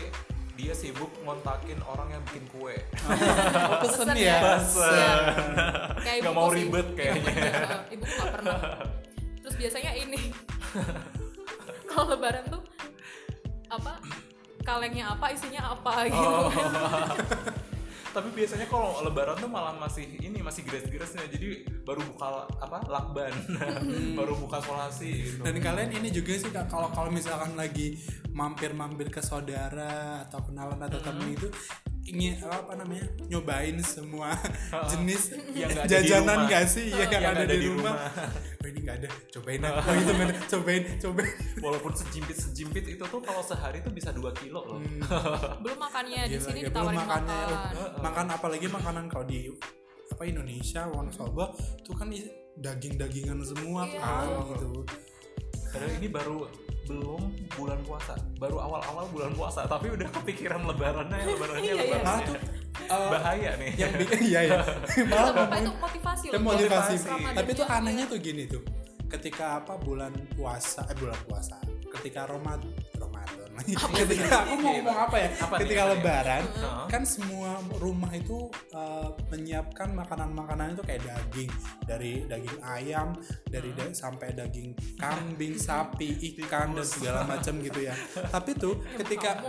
S1: dia sibuk ngontakin orang yang bikin kue.
S2: Pesen
S3: pesen ya
S2: ya. Pesen.
S1: Iya.
S2: Kayak
S1: Nggak
S2: ibuku
S1: mau
S2: sih.
S1: ribet kayaknya.
S2: Iya, ibu nggak pernah terus biasanya ini kalau lebaran tuh apa kalengnya apa isinya apa gitu
S1: Oh. Tapi biasanya kalau lebaran tuh malah masih ini masih gres-gresnya. Jadi baru buka la- apa? Lakban. baru buka solasi gitu.
S3: dan kalian ini juga sih Kak, kalau kalau misalkan lagi mampir-mampir ke saudara atau kenalan atau temen itu ingin apa namanya nyobain semua jenis
S1: Yang nggak ada di
S3: jajanan
S1: rumah.
S3: gak sih yang
S1: Yang
S3: nggak ada, di rumah,
S1: rumah.
S3: oh ini nggak ada cobain ah. oh itu nggak ada. cobain cobain
S1: Walaupun sejimpit-sejimpit itu tuh kalau sehari tuh bisa 2 kilo loh.
S3: Hmm.
S2: belum makannya di
S3: Gila,
S2: sini
S3: ya,
S2: ditawarin
S3: belum makannya,
S2: makan
S3: lu- makan apalagi makanan kalau di apa Indonesia Wonosobo itu kan is- daging-dagingan semua
S2: Iya.
S3: kan gitu
S1: Padahal ini baru belum bulan puasa, baru awal-awal bulan puasa, tapi udah kepikiran lebarannya, lebarannya,
S2: Iya, iya.
S1: lebarannya.
S3: malah tuh eh,
S1: Bahaya nih.
S3: yang bikin iya ya malah
S2: apa
S3: ngomongin
S2: itu motivasi
S3: itu
S2: loh
S3: motivasi
S1: Motivasi.
S3: tapi tuh anehnya
S1: ya.
S3: tuh gini tuh ketika apa bulan puasa eh bulan puasa ketika Romad Ramadan ketika aku mau ngomong apa ya
S1: Apa nih,
S3: ketika
S1: apa nih?
S3: lebaran
S1: Heeh.
S3: kan semua rumah itu eh, menyiapkan makanan-makanan itu kayak daging dari daging ayam dari da- sampai daging kambing sapi ikan dan segala macam gitu ya tapi tuh ketika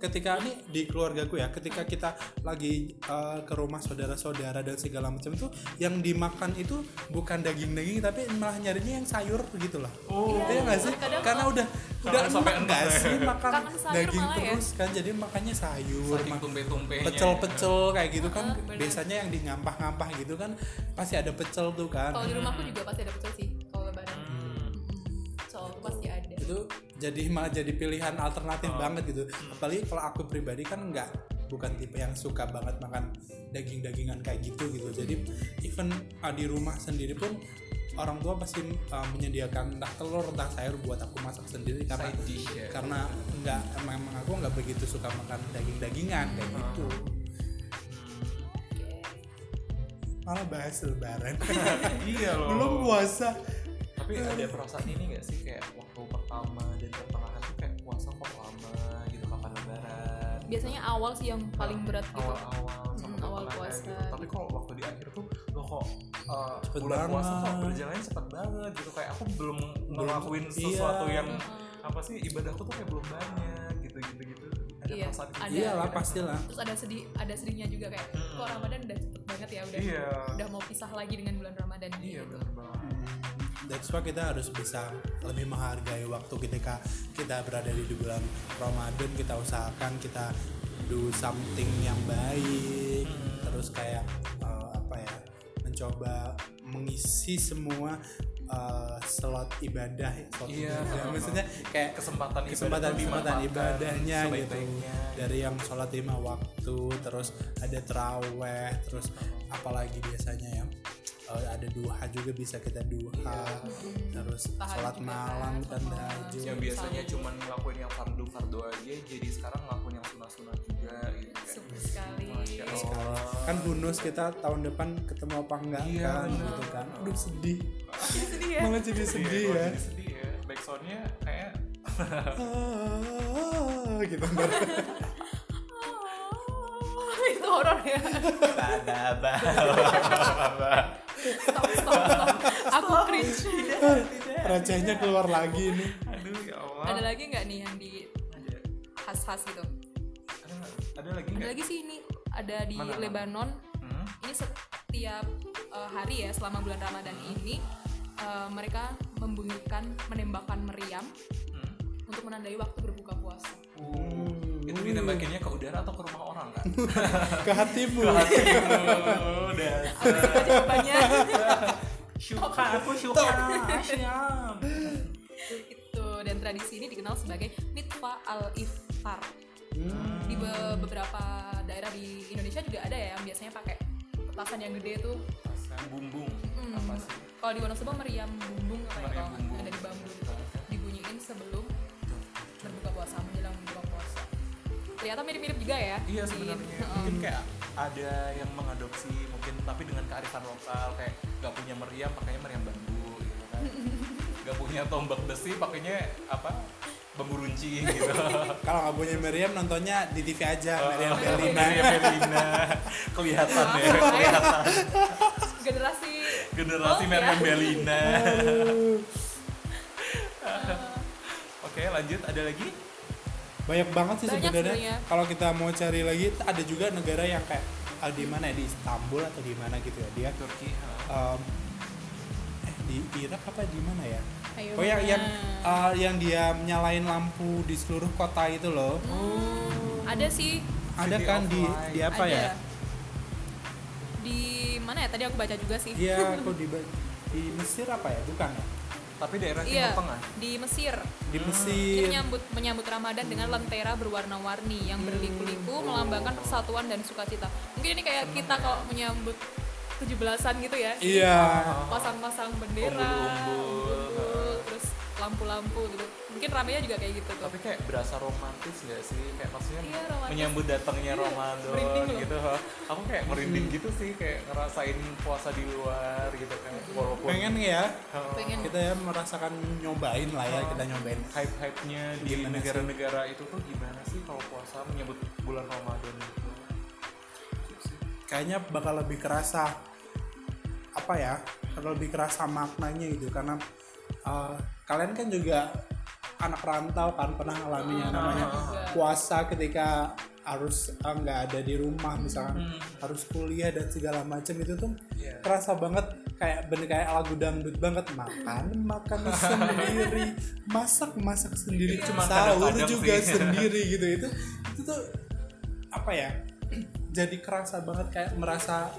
S3: ketika ini di keluargaku ya ketika kita lagi eh, ke rumah saudara-saudara dan segala macam tuh yang dimakan itu bukan daging-daging tapi malah nyarinya yang sayur gitu lah
S1: Oh.
S3: Iya nggak sih?
S2: Kadang-
S3: Karena udah
S1: Karena
S3: udah
S1: sampai
S3: sampai enggak
S1: enak.
S3: sih makan
S2: Kangen sayur
S3: daging
S2: malah ya.
S3: terus kan jadi makannya sayur,
S1: Saking
S3: mak-
S1: tumpe-tumpenya.
S3: pecel-pecel kayak gitu kan
S2: Heeh, bener.
S3: biasanya yang di ngampah-ngampah gitu kan pasti ada pecel tuh kan.
S2: kalau di rumahku juga pasti ada pecel sih kalau lebaran
S1: Hmm.
S2: soalku pasti ada
S3: Itu jadi malah jadi pilihan alternatif banget gitu. Apalagi kalau aku pribadi kan enggak bukan tipe yang suka banget makan daging-dagingan kayak gitu gitu. Jadi even ah, di rumah sendiri pun orang tua pasti ah, menyediakan entah telur entah sayur buat aku masak sendiri karena
S1: Side dish ya.
S3: karena nggak memang aku nggak begitu suka makan daging-dagingan kayak gitu malah bahas lebaran
S1: iya loh.
S3: belum puasa
S1: Tapi ada perasaan ini gak sih kayak waktu pertama dan pertengahan tuh kayak puasa kok lama gitu kapan lebaran.
S2: biasanya awal sih yang paling berat gitu
S1: awal-awal sama
S2: Hmm, awal
S1: pertengahan
S2: puasa.
S1: gitu. tapi kalau waktu di akhir tuh loh kok uh,
S3: Cepet
S1: bulan puasa kok
S3: banget.
S1: berjalannya cepet banget gitu kayak aku belum ngelakuin sesuatu
S3: iya.
S1: yang
S2: Eh,
S1: apa sih ibadahku tuh kayak belum banyak gitu gitu gitu ada
S2: Iya,
S1: perasaan
S2: ada.
S1: gitu.
S3: iyalah pastilah
S2: terus ada sedih ada sedihnya juga kayak kok Ramadan udah cepet banget ya udah
S1: iya
S2: udah mau pisah lagi dengan bulan Ramadan
S1: iya
S2: gitu.
S1: bener banget
S3: Hmm, That's why kita harus bisa lebih menghargai waktu ketika kita berada di bulan Ramadan kita usahakan kita do something yang baik terus kayak eh, apa ya mencoba mengisi semua eh, slot ibadah ya, slot
S1: Iya.
S3: ibadah. maksudnya kayak
S1: kesempatan ibadah
S3: kesempatan
S1: tuh
S3: kesempatan
S1: dimanfaatkan
S3: ibadahnya gitu
S1: sebaik-baiknya.
S3: dari yang sholat lima waktu terus ada teraweh terus apalagi biasanya ya eh, ada duha juga bisa kita duha terus
S2: Tahajud
S3: sholat
S2: juga
S3: malam
S2: kan,
S3: dan
S2: sholat malam.
S3: tahajud
S1: yang biasanya cuman ngelakuin yang fardu fardu aja jadi sekarang ngelakuin yang sunah sunah juga gitu kayak
S2: super sekali
S1: Masya Allah.
S3: kan bonus kita tahun depan ketemu apa enggak
S1: Iya,
S3: kan
S1: bener.
S3: gitu kan aduh sedih
S2: sedih ya
S3: malah jadi sedih
S1: Iya,
S3: ya
S1: jadi sedih ya backsoundnya kayak
S3: Ah, gitu ntar.
S2: Oh, itu horor ya
S1: Iya.
S2: stop stop stop aku cringe
S1: Iya.
S3: recehnya keluar lagi nih
S1: aduh ya Allah
S2: ada lagi nggak nih yang di khas-khas gitu
S1: Ada, ada lagi
S2: ada
S1: nggak?
S2: lagi sih ini ada di
S1: Mana?
S2: Lebanon
S1: Hmm?
S2: ini setiap eh, hari ya selama bulan Ramadan
S1: Hmm.
S2: ini eh, mereka membunyikan menembakkan meriam
S1: Hmm?
S2: untuk menandai waktu berbuka puasa
S1: Uh. Itu ditembakinnya ke udara atau ke rumah orang kan?
S3: ke hatimu
S1: Udah.
S2: banyak
S1: Syuka, aku syuka. Asyam.
S2: itu dan tradisi ini dikenal sebagai mitfa al iftar
S3: Hmm.
S2: di be- beberapa daerah di Indonesia juga ada ya yang biasanya pakai petasan yang gede tuh
S1: Pasang bumbung.
S2: Hmm.
S1: Apa sih?
S2: kalau di Wonosobo meriam bumbung
S1: Meriam
S2: apa ya kalau nggak-
S1: bumbung.
S2: dari bambu dibunyiin sebelum berbuka puasa menjelang berbuka puasa ternyata mirip-mirip juga ya
S1: Iya
S2: di-
S1: sebenarnya
S2: Heeh.
S1: mungkin kayak ada yang mengadopsi mungkin tapi dengan kearifan lokal kayak nggak punya meriam pakainya meriam bambu gitu kan. Gak punya tombak besi pakainya apa? Bambu runcing gitu.
S3: kalau nggak punya meriam nontonnya di TV aja
S2: Iya,
S3: meriam
S1: Oh,
S3: Berlina
S1: Meriam Berlina. Kelihatan ya,
S2: Maaf,
S1: kelihatan.
S2: generasi
S1: generasi
S2: iya. Oh, ya.
S1: Meriam Bellina.
S2: Uh.
S1: Oke, lanjut ada lagi?
S3: banyak banget sih
S2: Banyak sebenarnya.
S3: sebenarnya kalau kita mau cari lagi ada juga negara yang kayak ah, di mana ya di Istanbul atau di mana gitu ya dia
S1: Turki.
S3: um, eh di Irak apa di mana ya
S2: Ayo,
S1: iya,
S3: oh yang
S2: mana?
S3: yang
S2: Iya.
S3: uh, yang dia nyalain lampu di seluruh kota itu loh
S2: Hmm. ada sih
S3: ada
S1: City
S3: kan
S1: of
S3: di
S1: Light.
S3: di apa
S2: ada.
S3: ya
S2: di mana ya tadi aku baca juga sih
S1: Iya.
S3: dia Iya, kok di ba- di Mesir apa ya bukan ya
S1: Tapi daerah ah. Timur
S2: iya
S1: Tengah.
S2: di Mesir
S3: di
S1: Iya.
S2: Ini
S3: Mesir
S2: menyambut menyambut Ramadan dengan lentera berwarna-warni yang berliku-liku
S1: Hmm.
S2: melambangkan persatuan dan sukacita. Mungkin ini kayak kita kalau menyambut 17-an gitu ya.
S3: iya
S2: Pasang-pasang bendera,
S1: Umbul-umbul.
S2: umbul-umbul, terus lampu-lampu gitu. Mungkin ramenya juga kayak gitu tuh.
S1: Tapi kayak berasa romantis gak sih? Kayak maksudnya
S2: Iya, romantis.
S1: menyambut datangnya Ramadan
S2: merinding loh.
S1: gitu. ha. Aku kayak merinding gitu sih, kayak ngerasain puasa di luar gitu kan. Walaupun
S3: pengen ya
S1: ha,
S2: Oh. Pengen
S3: kita ya merasakan nyobain lah ya kita nyobain
S1: hype-hype-nya di
S3: Gimana sih?
S1: negara-negara itu tuh gimana sih kalau puasa menyambut bulan Ramadan gitu.
S3: kayaknya bakal lebih kerasa apa ya bakal lebih kerasa maknanya gitu karena uh, kalian kan juga anak rantau kan pernah ngalamin
S1: Iya.
S3: yang namanya puasa ketika harus uh, nggak ada di rumah misalkan harus kuliah dan segala macam itu tuh
S1: Hmm. Iya.
S3: kerasa banget kayak bener kayak lagu dangdut banget makan makan sendiri masak masak sendiri
S1: Itu Iya. cuma
S3: sahur
S1: kadang-kadang
S3: juga
S1: sih.
S3: sendiri gitu itu itu tuh apa ya jadi kerasa banget kayak merasa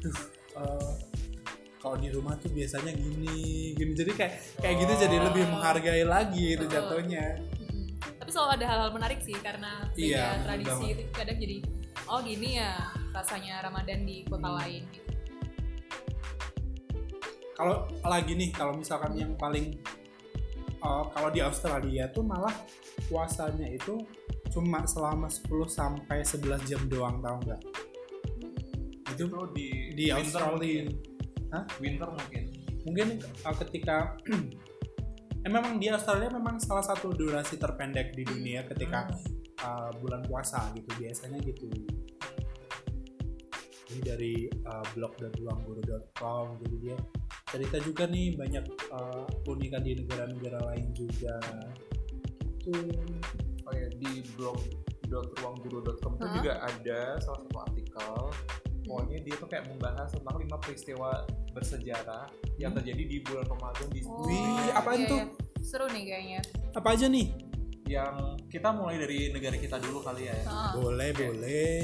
S3: duh eh, kalau di rumah tuh biasanya gini gini jadi kayak kayak gitu jadi
S1: Oh.
S3: lebih menghargai lagi itu jatuhnya
S2: Mm-mm. Tapi selalu ada hal-hal menarik sih karena beda
S3: Iya, bener
S2: tradisi
S3: banget.
S2: itu kadang jadi oh gini ya rasanya Ramadan di kota
S3: Hmm.
S2: lain gitu.
S3: kalau lagi nih kalau misalkan yang paling eh, kalau di Australia tuh malah puasanya itu cuma selama 10 sampai 11 jam doang tau nggak
S1: Itu tuh Oh, di,
S3: di
S1: winter mungkin.
S3: Australia
S1: Winter mungkin.
S3: mungkin uh, ketika eh, memang di Australia memang salah satu durasi terpendek di dunia ketika uh, bulan puasa gitu biasanya gitu ini dari uh, blog dan ruangguru.com jadi dia cerita juga nih banyak uh, keunikan di negara-negara lain juga itu
S1: Oh ya di blog ruangguru.com tuh
S2: Hah?
S1: juga ada salah satu artikel pokoknya dia tuh kayak membahas tentang lima peristiwa bersejarah yang terjadi di bulan Ramadan di
S3: Wih, apaan
S2: iya,
S3: tuh?
S2: iya. Seru nih kayaknya.
S3: apa aja nih
S1: yang kita mulai dari negara kita dulu kali ya
S2: Heeh.
S3: boleh boleh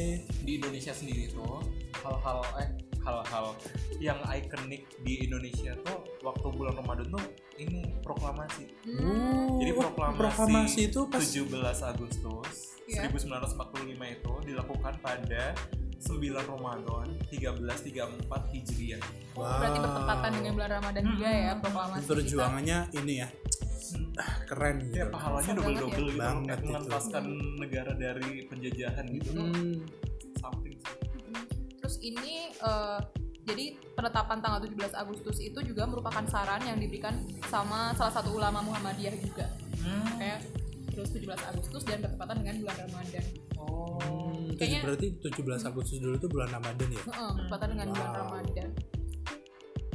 S1: di Indonesia sendiri tuh hal-hal eh hal-hal yang ikonik di Indonesia tuh waktu bulan Ramadan tuh ini proklamasi
S2: Hmm.
S1: Jadi
S3: Wah,
S1: proklamasi,
S3: proklamasi itu pas
S1: 17 Agustus
S2: Iya.
S1: 1945 itu dilakukan pada 9 Ramadan 1334 Hijriah.
S2: Berarti bertepatan dengan bulan Ramadan juga ya
S3: Hmm.
S2: proklamasi kita.
S3: perjuangannya ini ya ah, keren
S1: Ya
S3: gitu
S1: pahalanya
S2: Besar
S1: double-double gitu loh,
S3: Banget
S1: kayak
S3: itu.
S1: mengentaskan negara dari penjajahan gitu loh.
S3: Hmm.
S1: Something
S2: Mm-mm. Hmm. Terus ini eh, jadi penetapan tanggal 17 Agustus itu juga merupakan saran yang diberikan sama salah satu ulama Muhammadiyah juga. Kayak terus 17 Agustus dan bertepatan dengan bulan Ramadan.
S1: Oh.
S3: Hmm, tujuh-
S2: Kayaknya-
S3: berarti 17 Agustus dulu itu bulan Ramadan ya?
S2: Heeh, bertepatan dengan bulan
S3: Wow.
S2: Ramadan.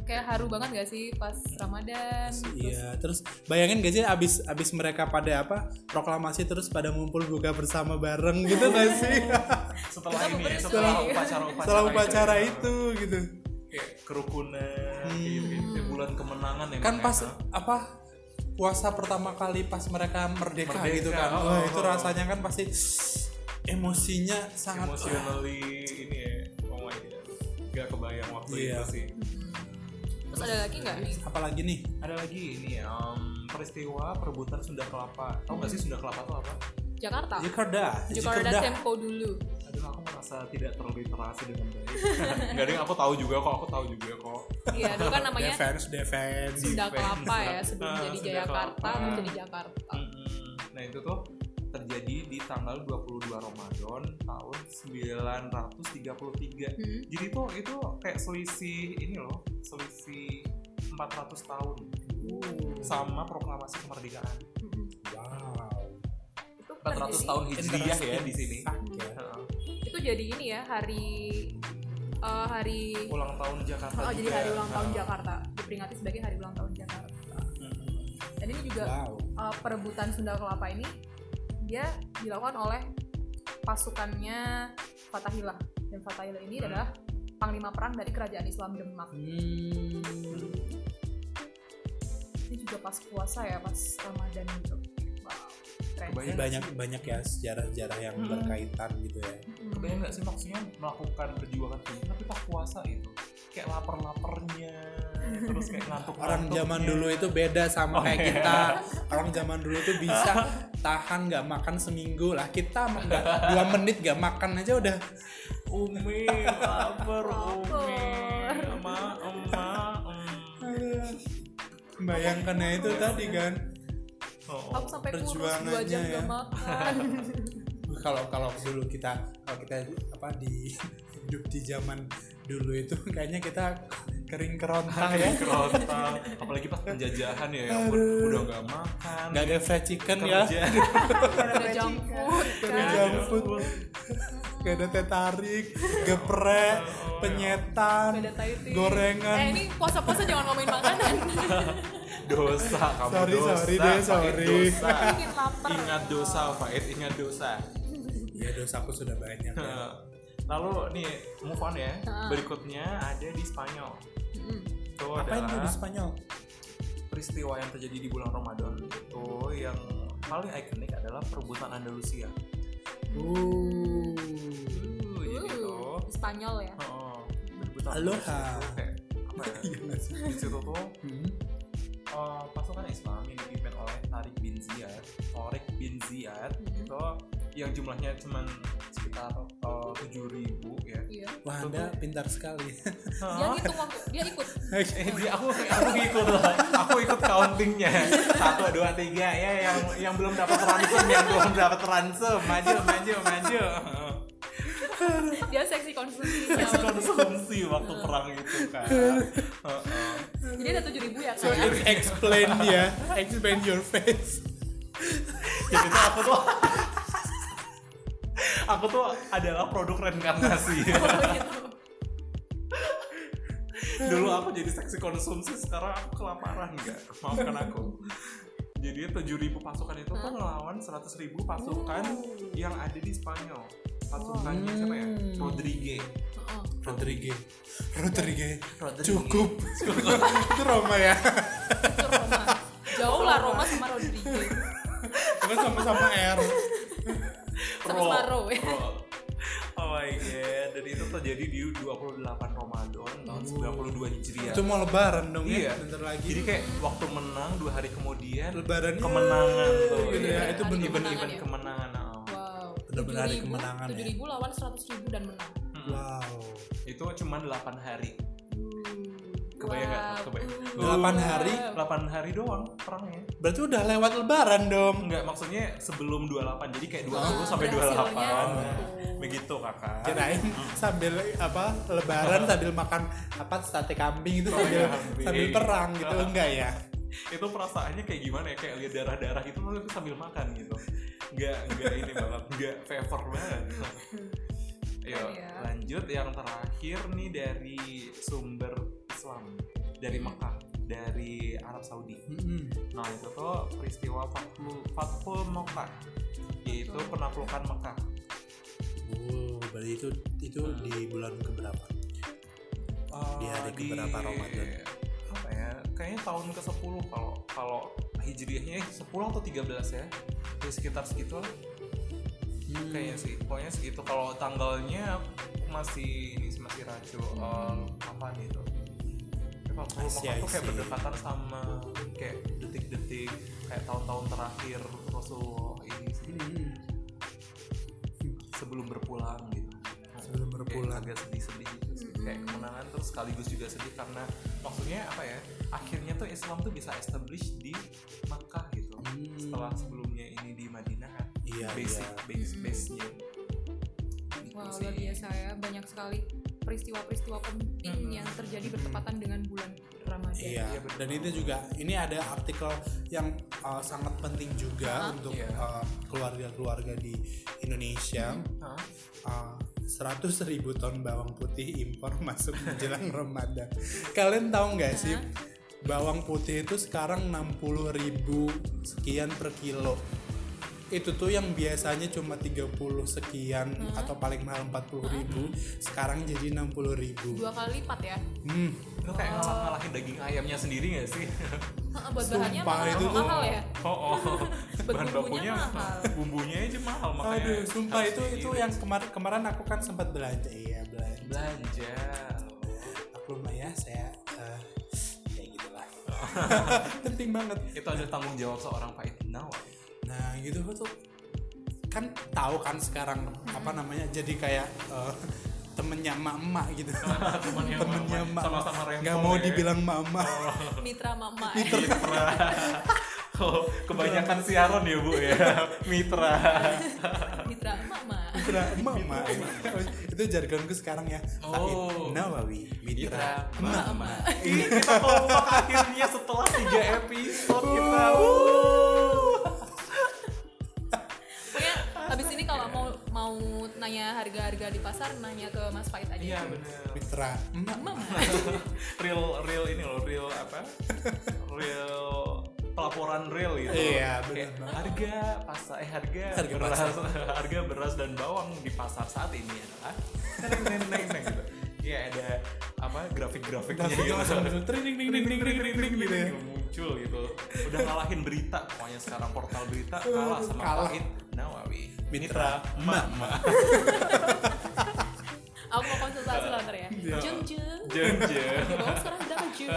S2: kayak haru banget gak sih pas Ramadan terus
S3: Iya, terus bayangin gak sih abis abis mereka pada apa proklamasi terus pada ngumpul buka bersama bareng gitu gak sih?
S1: setelah
S2: Kita
S1: ini ya,
S2: memberi
S1: setelah ya.
S2: suai.
S1: upacara upacara,
S3: Setelah upacara itu gitu.
S1: kayak kerukunan kayak gitu, kayak gitu. bulan kemenangan ya
S3: Hmm. Kan
S1: makanya.
S3: pas apa puasa pertama kali pas mereka merdeka,
S1: Merdeka,
S3: gitu kan.
S1: oh,
S3: Wah,
S1: oh,
S3: itu
S1: oh.
S3: rasanya kan pasti emosinya sangat
S1: emotionally ini ya oh my god gak kebayang waktu itu
S3: Iya.
S1: sih
S2: hmm. terus ada lagi nggak nih
S3: apalagi nih
S1: ada lagi ini em, peristiwa perebutan Sunda Kelapa tau gak sih Sunda Kelapa itu apa
S2: Jakarta
S1: Iya.
S3: Jakarta,
S2: Jakarta Tempo dulu
S1: aduh aku merasa tidak terliterasi dengan baik nggak ding aku tahu juga kok aku tahu juga kok
S2: iya dulu kan namanya
S3: defense defense
S2: Sunda
S1: Defense.
S2: Kelapa ya sebelum
S1: Ah,
S2: jadi
S1: Sunda
S2: Jakarta
S1: Kelapa.
S2: terus jadi Jakarta
S1: Mm-mm. nah itu tuh terjadi di tanggal 22 Ramadan tahun 933
S2: Hmm.
S1: jadi tuh itu kayak selisih ini loh selisih 400 tahun
S2: Oh.
S1: sama proklamasi kemerdekaan
S2: Mm-mm.
S3: wow
S2: hmm, Itu kan
S1: 400
S2: jadi-
S1: tahun hijriah ya di sini
S3: Fuck ya.
S1: Heeh.
S2: itu jadi ini ya hari eh, hari
S1: ulang tahun Jakarta
S2: oh jadi
S1: juga. Ah.
S2: hari ulang tahun
S1: Heeh.
S2: Jakarta diperingati sebagai hari ulang tahun Jakarta
S1: Mm-mm.
S2: dan ini juga
S3: wow
S2: eh, perebutan Sunda Kelapa ini dia dilakukan oleh pasukannya Fatahillah dan Fatahillah ini
S1: Hmm.
S2: adalah panglima perang dari kerajaan Islam Demak ini juga pas puasa ya pas Ramadan gitu wow keren
S1: Kebayang
S3: Ini banyak banyak ya sejarah-sejarah yang
S2: Mm-mm.
S3: berkaitan gitu ya
S2: Hmm.
S1: kebayang nggak sih maksudnya melakukan perjuangan ini tapi pas puasa itu kayak lapar-laparnya terus kayak ngantuk
S3: orang zaman
S1: ya.
S3: dulu itu beda sama
S1: Oh,
S3: kayak
S1: iya.
S3: kita orang zaman dulu itu bisa tahan nggak makan seminggu lah kita mah nggak dua menit nggak makan aja udah
S1: umi lapar umi
S2: Lapar.
S1: ema ema
S3: aduh, bayangkan ya itu tadi kan
S1: em. oh,
S2: aku sampai kurus dua
S3: perjuangannya
S2: jam
S3: ya.
S2: gak makan
S3: Wah, kalau kalau dulu kita kalau kita apa di hidup di zaman dulu itu kayaknya kita kering kerontang
S1: Kayak
S3: ya
S1: kerontang apalagi pas penjajahan ya, ya ampun,
S3: Aduh.
S1: udah nggak makan
S3: nggak ada fried chicken ya
S1: kerja
S2: ada junk food
S3: Ada
S2: kan.
S1: ya.
S3: junk food. gak ada teh tarik
S1: Oh, iya.
S3: geprek penyetan
S2: Beda tai tea.
S3: gorengan
S2: eh ini puasa-puasa jangan ngomongin makanan
S1: dosa kamu
S3: Sorry,
S1: dosa
S3: sorry deh,
S1: Faid,
S3: sorry.
S1: dosa.
S2: bikin lapar
S1: ingat dosa Faid ingat dosa
S3: ya dosaku sudah banyak ya.
S1: Lalu nih move on ya.
S2: Heeh.
S1: Berikutnya ada di Spanyol.
S2: Mm-mm.
S1: Itu
S3: apa yang di
S1: adalah
S3: Spanyol
S1: peristiwa yang terjadi di bulan Ramadan itu yang paling ikonik adalah perebutan Andalusia.
S3: uh
S1: Uh, jadi itu.
S2: Uh, Spanyol ya
S1: heeh, perebutan
S3: Aloha.
S1: Andalusia itu kayak apa ya?
S3: Iya nggak sih?
S1: Di situ tuh
S3: Hmm.
S1: eh, pasukan Islam yang dipimpin oleh Tariq bin Ziyad, Tariq bin Ziyad
S2: Mhm.
S1: itu Gitu. yang jumlahnya cuman sekitar eh, tujuh ribu ya.
S2: iya
S3: wah anda pintar sekali
S1: Oh.
S2: dia ngitung waktu dia ikut
S1: Eh, dia- aku aku ikut loh. Aku ikut countingnya. Satu, dua, tiga ya yang yang belum dapat ransom, yang belum dapat ransom. Maju, maju, maju.
S2: dia seksi Iya. konsumsi
S1: Seksi konsumsi kan waktu perang itu kan. Heeh.
S2: jadi ada tujuh ribu ya
S3: so
S2: kan
S3: ex- explain ya explain your face
S1: Jadi tuh aku tuh aku tuh adalah produk reinkarnasi.
S2: Oh, gitu.
S1: Dulu aku jadi seksi konsumsi, sekarang aku kelaparan enggak. Maafkan aku. Jadi 7000 pasukan itu tuh ngelawan 100.000 pasukan yang ada di Spanyol. Pasukannya siapa ya?
S3: Hmm.
S1: Rodrigue.
S2: Heeh.
S3: Rodrigue Rodrigue
S1: Rodrigue.
S3: cukup itu Roma ya
S2: itu Roma jauh lah Roma sama Rodrigo
S3: kan sama-sama R
S2: Sama Sparrow, ya.
S1: Ro. Oh my god, dan itu terjadi di 28 Ramadan tahun
S3: Hmm.
S1: 92 Hijriah.
S3: itu mau lebaran dong
S1: Iya.
S3: ya bentar lagi
S1: Jadi kayak waktu menang dua hari kemudian
S3: Lebarannya,
S1: kemenangan tuh.
S3: gitu
S1: Iya,
S3: ya. Itu
S1: Hari
S3: bener-bener
S1: event-event
S2: ya.
S1: kemenangan. oh.
S2: wow
S3: Bener-bener ada
S2: 7.000,
S3: kemenangan ya.
S2: 7.000 lawan 100.000 dan menang
S3: wow
S1: oh. Hmm. Itu cuma 8 hari. Kebayang nggak?
S2: Wow.
S1: Kebayang.
S2: Uh.
S3: Delapan hari?
S1: 8 hari doang perangnya.
S3: Berarti udah lewat lebaran dong.
S1: Enggak, maksudnya sebelum 28. Jadi kayak 20
S2: Ah,
S1: sampai
S2: berhasilnya.
S1: 28. Begitu, Kakak.
S3: Kirain sambil apa lebaran sambil makan apa sate kambing itu
S1: Oh,
S3: sambil
S1: iya, kambing.
S3: sambil perang gitu enggak ya?
S1: itu perasaannya kayak gimana ya kayak lihat darah darah gitu terus aku sambil makan gitu nggak nggak ini banget nggak favor banget Ayo
S2: Keren ya.
S1: lanjut yang terakhir nih dari sumber Islam dari Mekah dari Arab Saudi
S3: Mm-mm.
S1: nah itu tuh peristiwa Fathul Fathul Mekah yaitu penaklukan Mekah
S3: Oh, berarti itu itu di bulan keberapa?
S1: Eh,
S3: Di hari keberapa Ramadan?
S1: apa ya kayaknya tahun ke 10 kalau kalau hijriahnya 10 atau 13 ya di sekitar segitu lah
S3: Hmm.
S1: kayaknya sih pokoknya segitu kalau tanggalnya masih ini sih, masih rancu apa nih itu Kalau
S3: I see,
S1: Mekah
S3: I
S1: tuh kayak
S3: see.
S1: berdekatan sama kayak detik-detik kayak tahun-tahun terakhir Rasulullah ini sih
S3: Mm-mm.
S1: sebelum berpulang gitu
S3: hmm. Sebelum
S1: Kayak
S3: berpulang. Mm-hmm.
S1: agak sedih-sedih gitu sih kayak kemenangan terus sekaligus juga sedih karena maksudnya apa ya akhirnya tuh Islam tuh bisa establish di Makkah gitu
S3: Hmm.
S1: setelah sebelumnya ini di Madinah kan
S3: Iya,
S1: basic
S3: iya.
S1: base base nya gitu
S2: Wah
S1: sih
S2: luar biasa ya banyak sekali peristiwa-peristiwa penting
S1: Mm-mm.
S2: yang terjadi bertepatan dengan bulan Ramadan.
S3: Iya,
S1: Iya, betul.
S3: dan itu juga ini ada artikel yang uh, sangat penting juga untuk
S1: Iya.
S3: uh, keluarga-keluarga di Indonesia.
S1: Hah?
S3: Seratus ribu ton bawang putih impor masuk menjelang Ramadan. Kalian tahu nggak sih bawang putih itu sekarang 60.000 ribu sekian per kilo. Itu tuh yang biasanya cuma 30 sekian atau paling mahal 40 ribu, sekarang jadi 60 ribu.
S2: Dua kali lipat ya.
S3: Hmm,
S1: itu kayak
S2: Oh.
S1: ngalah ngalahin daging ayamnya sendiri gak sih
S2: Heeh, Buat bahannya
S3: Sumpah,
S2: mahal,
S3: itu tuh-
S2: mahal ya.
S1: oh, oh. bahan
S2: Bumbunya
S1: bakunya
S2: mahal.
S1: bumbunya aja mahal makanya
S3: Aduh, sumpah
S1: harus
S3: itu itu
S1: diirit.
S3: yang kemarin kemarin aku kan sempat belanja iya belanja.
S1: belanja
S3: Aku lumayan saya eh, kayak gitulah. Penting banget.
S1: itu ada tanggung jawab seorang Pak Itinawa
S3: Nah gitu tuh kan tahu kan sekarang apa namanya jadi kayak eh, temennya emak-emak gitu
S1: Ah, Temennya emak-emak.
S3: emak-emak.
S1: Sama-sama
S3: nggak
S1: rempong
S3: mau
S1: ya. Oh.
S3: dibilang emak-emak
S2: Mitra mama.
S1: Mitra. Oh, kebanyakan siaran ya bu ya. Mitra.
S2: Mitra mama.
S3: mitra Nah, emak-emak itu jargonku sekarang ya Said
S1: Oh.
S3: Nawawi mitra
S1: Mama. Ini kita kompak akhirnya setelah tiga episode kita.
S3: Uh.
S2: Pokoknya habis ini kalau mau mau nanya harga-harga di pasar nanya ke Mas Faiz aja.
S1: Iya benar.
S3: mitra emak-emak
S2: Mama.
S1: Real real ini loh real apa? Real pelaporan real gitu.
S3: Iya, benar
S1: Kayak
S3: banget.
S1: harga pasar eh harga
S3: Harga
S1: beras
S3: pasar.
S1: harga beras dan bawang di pasar saat ini adalah neng neng neng gitu. Iya ada apa grafik-grafiknya
S3: tapi
S1: gitu.
S3: langsung langsung tring ding ding ding ding ding ding ding gitu ya
S1: muncul gitu. Udah ngalahin berita pokoknya sekarang portal berita kalah sama
S3: Kalah.
S1: Pahit Nawawi.
S3: Mitra Mama.
S2: Aku mau konsultasi lah ntar ya. Jung Jung.
S1: Jen jen.
S2: Di bawah sekarang berapa Jung?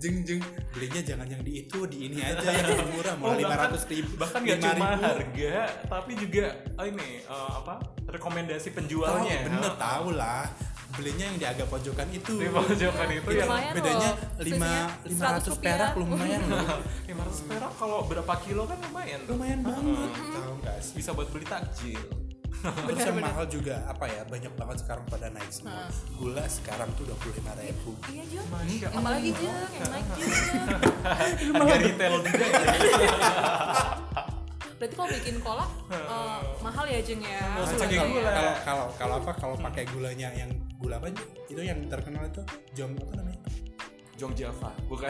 S3: Jeng jeng belinya jangan yang di itu di ini aja yang lebih murah
S1: Oh,
S3: mau lima ratus
S1: bahkan-
S3: ribu
S1: bahkan nggak cuma
S3: 5.000.
S1: harga tapi juga eh, ini eh, apa rekomendasi
S3: Tahu,
S1: penjualnya
S3: bener tahu lah belinya yang di agak pojokan itu
S1: di pojokan itu yang
S2: Lumayan
S3: bedanya
S2: loh.
S3: lima
S2: Selisihnya
S3: lima ratus
S2: 100
S3: perak
S2: rupiah.
S3: lumayan loh.
S1: 500 perak kalau berapa kilo kan lumayan tuh
S3: lumayan banget tahu nggak sih
S1: bisa buat beli takjil
S3: terus yang mahal juga apa ya banyak banget sekarang pada naik semua gula sekarang tuh dua puluh lima ribu
S2: Iya Jung.
S1: Masya
S2: Apalagi Jung, yang naik Jung.
S1: harga retail juga ya.
S2: Berarti kalau bikin kolak eh, mahal ya Jeng ya?
S1: Langsung
S3: Kalau-
S1: pakai gula.
S3: Nah, kalau kalau kalau apa kalau pakai gulanya yang gula apa itu yang terkenal itu jong apa namanya
S1: Jong Java bukan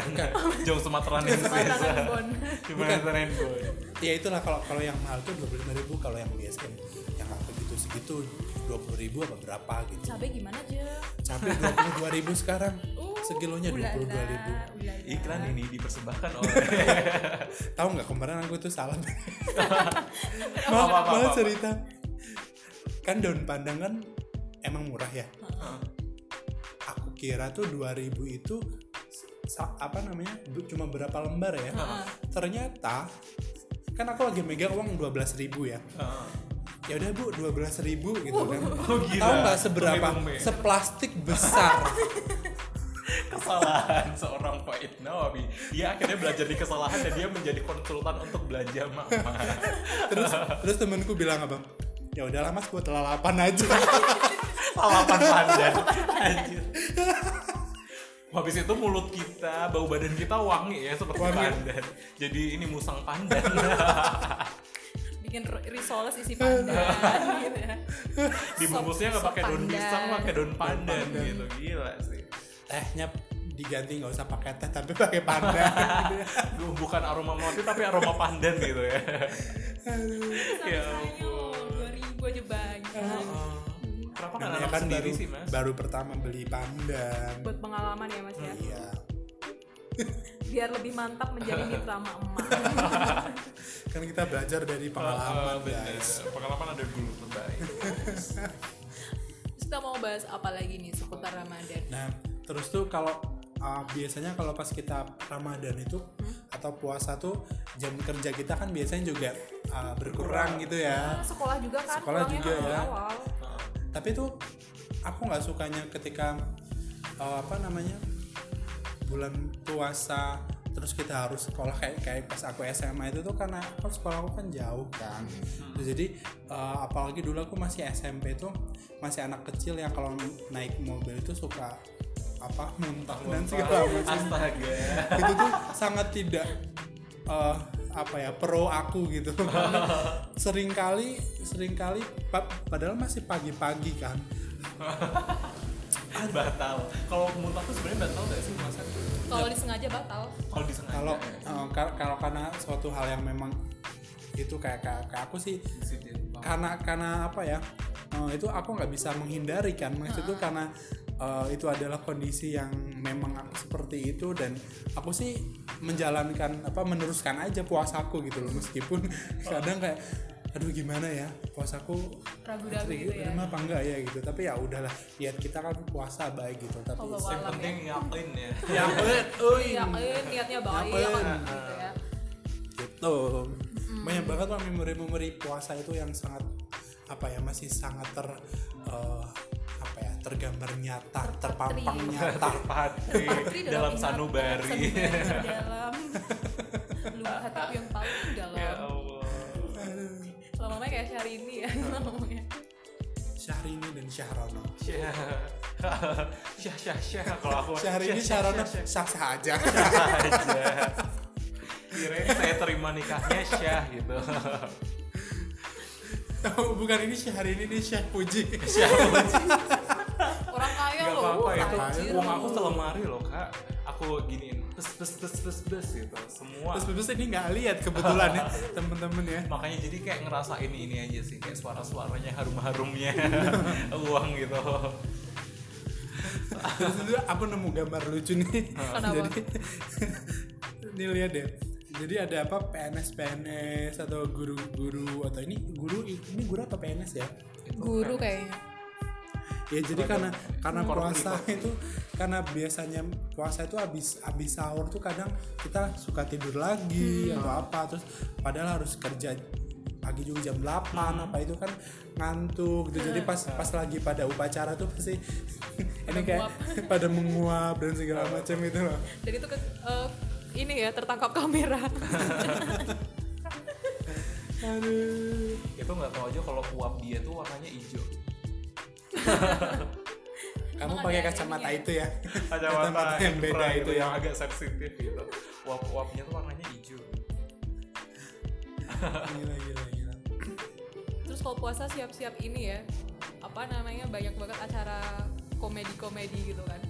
S1: Jong Sumateranen
S2: Makanan Bon.
S1: Sumateranen boy
S3: ya itulah kalau kalau yang mahal tuh dua puluh ribu kalau yang biasa yang nggak begitu segitu dua puluh ribu apa berapa gitu
S2: Cabe gimana Jeng?
S3: cabai dua puluh ribu sekarang
S2: Uh,
S3: sekilonya dua
S2: ulala,
S3: puluh ribu
S2: ulala.
S1: iklan ya? ini dipersembahkan oleh eh,
S3: tahu nggak kemarin aku tuh salah
S1: Apa,
S3: mau
S1: apa, apa,
S3: mau
S1: apa?
S3: cerita kan daun pandang kan emang murah ya aku kira tuh 2000 itu sa- apa namanya du- cuma berapa lembar ya ternyata kan aku lagi megang uang 12.000 ya
S1: Heeh.
S3: ya udah bu 12.000 gitu kan
S1: Oh, gila.
S3: tahu nggak seberapa
S1: Tumbe-tumbe.
S3: seplastik besar
S1: kesalahan seorang Faiz Nawawi dia akhirnya belajar di kesalahan dan dia menjadi konsultan untuk belanja mama
S3: terus terus temanku bilang abang ya udahlah mas buat lalapan aja
S1: lalapan pandan anjir habis itu mulut kita bau badan kita wangi ya seperti
S3: Wangi.
S1: pandan jadi ini musang pandan
S2: Di bikin r- risoles isi pandan gitu ya.
S1: dibungkusnya nggak
S2: Sop-
S1: pakai
S2: sop
S1: daun
S2: pandan.
S1: pisang pakai daun pandan
S3: Pandan.
S1: gitu gila sih
S3: tehnya Eh, diganti nggak usah pakai teh tapi pakai pandan
S1: Bu- bukan aroma melati tapi aroma pandan gitu ya
S2: Sampai
S1: Ya
S2: saya loh, 2000 aja banyak.
S1: kenapa nggak
S3: namanya
S1: nanam
S3: kan
S1: sendiri
S3: baru
S1: sih mas
S3: baru pertama beli pandan
S2: Buat pengalaman ya Mas ya.
S3: iya
S2: Biar lebih mantap menjadi mitra emak emak.
S3: kan kita belajar dari
S1: Eh,
S3: pengalaman kan.
S1: bener.
S3: guys
S1: pengalaman ada dulu terbaik
S2: Terus kita mau bahas apa lagi nih seputar Ramadan?
S3: nah terus tuh kalau uh, biasanya kalau pas kita Ramadan itu
S1: Hmm?
S3: atau puasa tuh jam kerja kita kan biasanya juga uh, berkurang gitu
S1: Ah.
S3: ya
S2: Nah, sekolah juga kan
S3: Sekolah
S2: pulangnya
S3: juga ya.
S2: awal.
S3: tapi tuh aku nggak sukanya ketika eh, apa namanya bulan puasa terus kita harus sekolah kayak kayak pas aku SMA itu tuh karena kan sekolah aku kan jauh kan Terus jadi eh, apalagi dulu aku masih SMP tuh masih anak kecil yang kalau naik mobil itu suka apa muntah dan segala macam
S1: astaga
S3: itu tuh sangat tidak eh, apa ya pro aku gitu seringkali seringkali pa- padahal masih pagi-pagi kan
S1: batal kalau muntah tuh sebenarnya batal nggak sih mas
S2: Kalau disengaja batal.
S1: kalau disengaja
S3: kalau
S1: ya.
S3: eh, ka- kalau karena suatu hal yang memang itu kayak kayak kayak aku sih
S1: Insiden banget.
S3: karena karena apa ya eh, itu aku nggak bisa menghindari kan maksud itu karena eh, itu adalah kondisi yang memang aku seperti itu dan aku sih menjalankan apa meneruskan aja puasaku gitu loh meskipun kadang kayak aduh gimana ya puasaku
S2: Ragu-ragu gitu ya.
S3: Iya, bener apa enggak ya gitu tapi ya udahlah lihat kita kan puasa baik gitu tapi
S2: Allah
S1: yang
S2: alam
S1: penting yakin ya
S3: ya
S2: ya. Yakin niatnya baik
S3: Yakin.
S2: kan gitu ya.
S3: gitu banyak banget lah memori-memori puasa itu yang sangat apa ya masih sangat ter eh, apa ya tergambar nyata terpampang nyata Iya,
S1: terpati
S2: Putri
S1: dalam
S2: ingatan,
S1: sanubari
S2: sanubari dalam lubuk hatiku yang paling
S3: Iya.
S1: ya
S2: dalam.
S1: Allah
S2: Lama-lama kayak Syahrini ini ya ngomongnya.
S3: Syahrini dan Syahrono
S1: Syah Syah Syah Syah kalau aku Syah,
S3: Syahrini
S1: Syah,
S3: Syahrono
S1: Syah,
S3: sah sah aja
S1: Syah aja kirain saya terima nikahnya Syah gitu
S3: Oh, bukan ini Syahrini ini Syah Puji
S1: Syah
S2: Orang kaya
S1: nggak
S2: loh.
S1: apa-apa ya
S2: tajir.
S1: uang aku selemari loh kak aku giniin pes pes pes pes pes gitu semua
S3: terus terus ini nggak lihat kebetulan ya temen-temen ya
S1: makanya jadi kayak ngerasa ini ini aja sih kayak suara-suaranya harum-harumnya uang gitu
S3: terus itu aku nemu gambar lucu nih
S2: Kenapa?
S3: jadi ini lihat deh jadi ada apa PNS PNS atau guru-guru atau ini guru ini guru atau PNS ya
S2: Guru kayaknya.
S3: ya jadi karena karena
S1: Korpri,
S3: puasa
S1: korpri.
S3: itu karena biasanya puasa itu habis habis sahur tuh kadang kita suka tidur lagi atau apa terus padahal harus kerja pagi juga jam 8 apa itu kan ngantuk gitu. jadi pas pas lagi pada upacara tuh pasti ini kayak pada menguap dan segala macam itu loh
S2: Jadi itu ke, eh, ini ya tertangkap kamera.
S3: aduh
S1: itu nggak tahu aja kalau uap dia tuh warnanya hijau
S3: kamu
S2: Emang
S3: pakai
S2: ada
S3: kacamata
S2: ininya?
S3: itu ya
S1: kacamata
S3: yang beda
S1: infra
S3: itu
S1: gitu,
S3: ya
S1: yang agak sensitif gitu uap uapnya tuh warnanya hijau
S3: gila gila gila
S2: Terus kalau puasa siap-siap ini ya. Apa namanya banyak banget acara komedi-komedi gitu kan.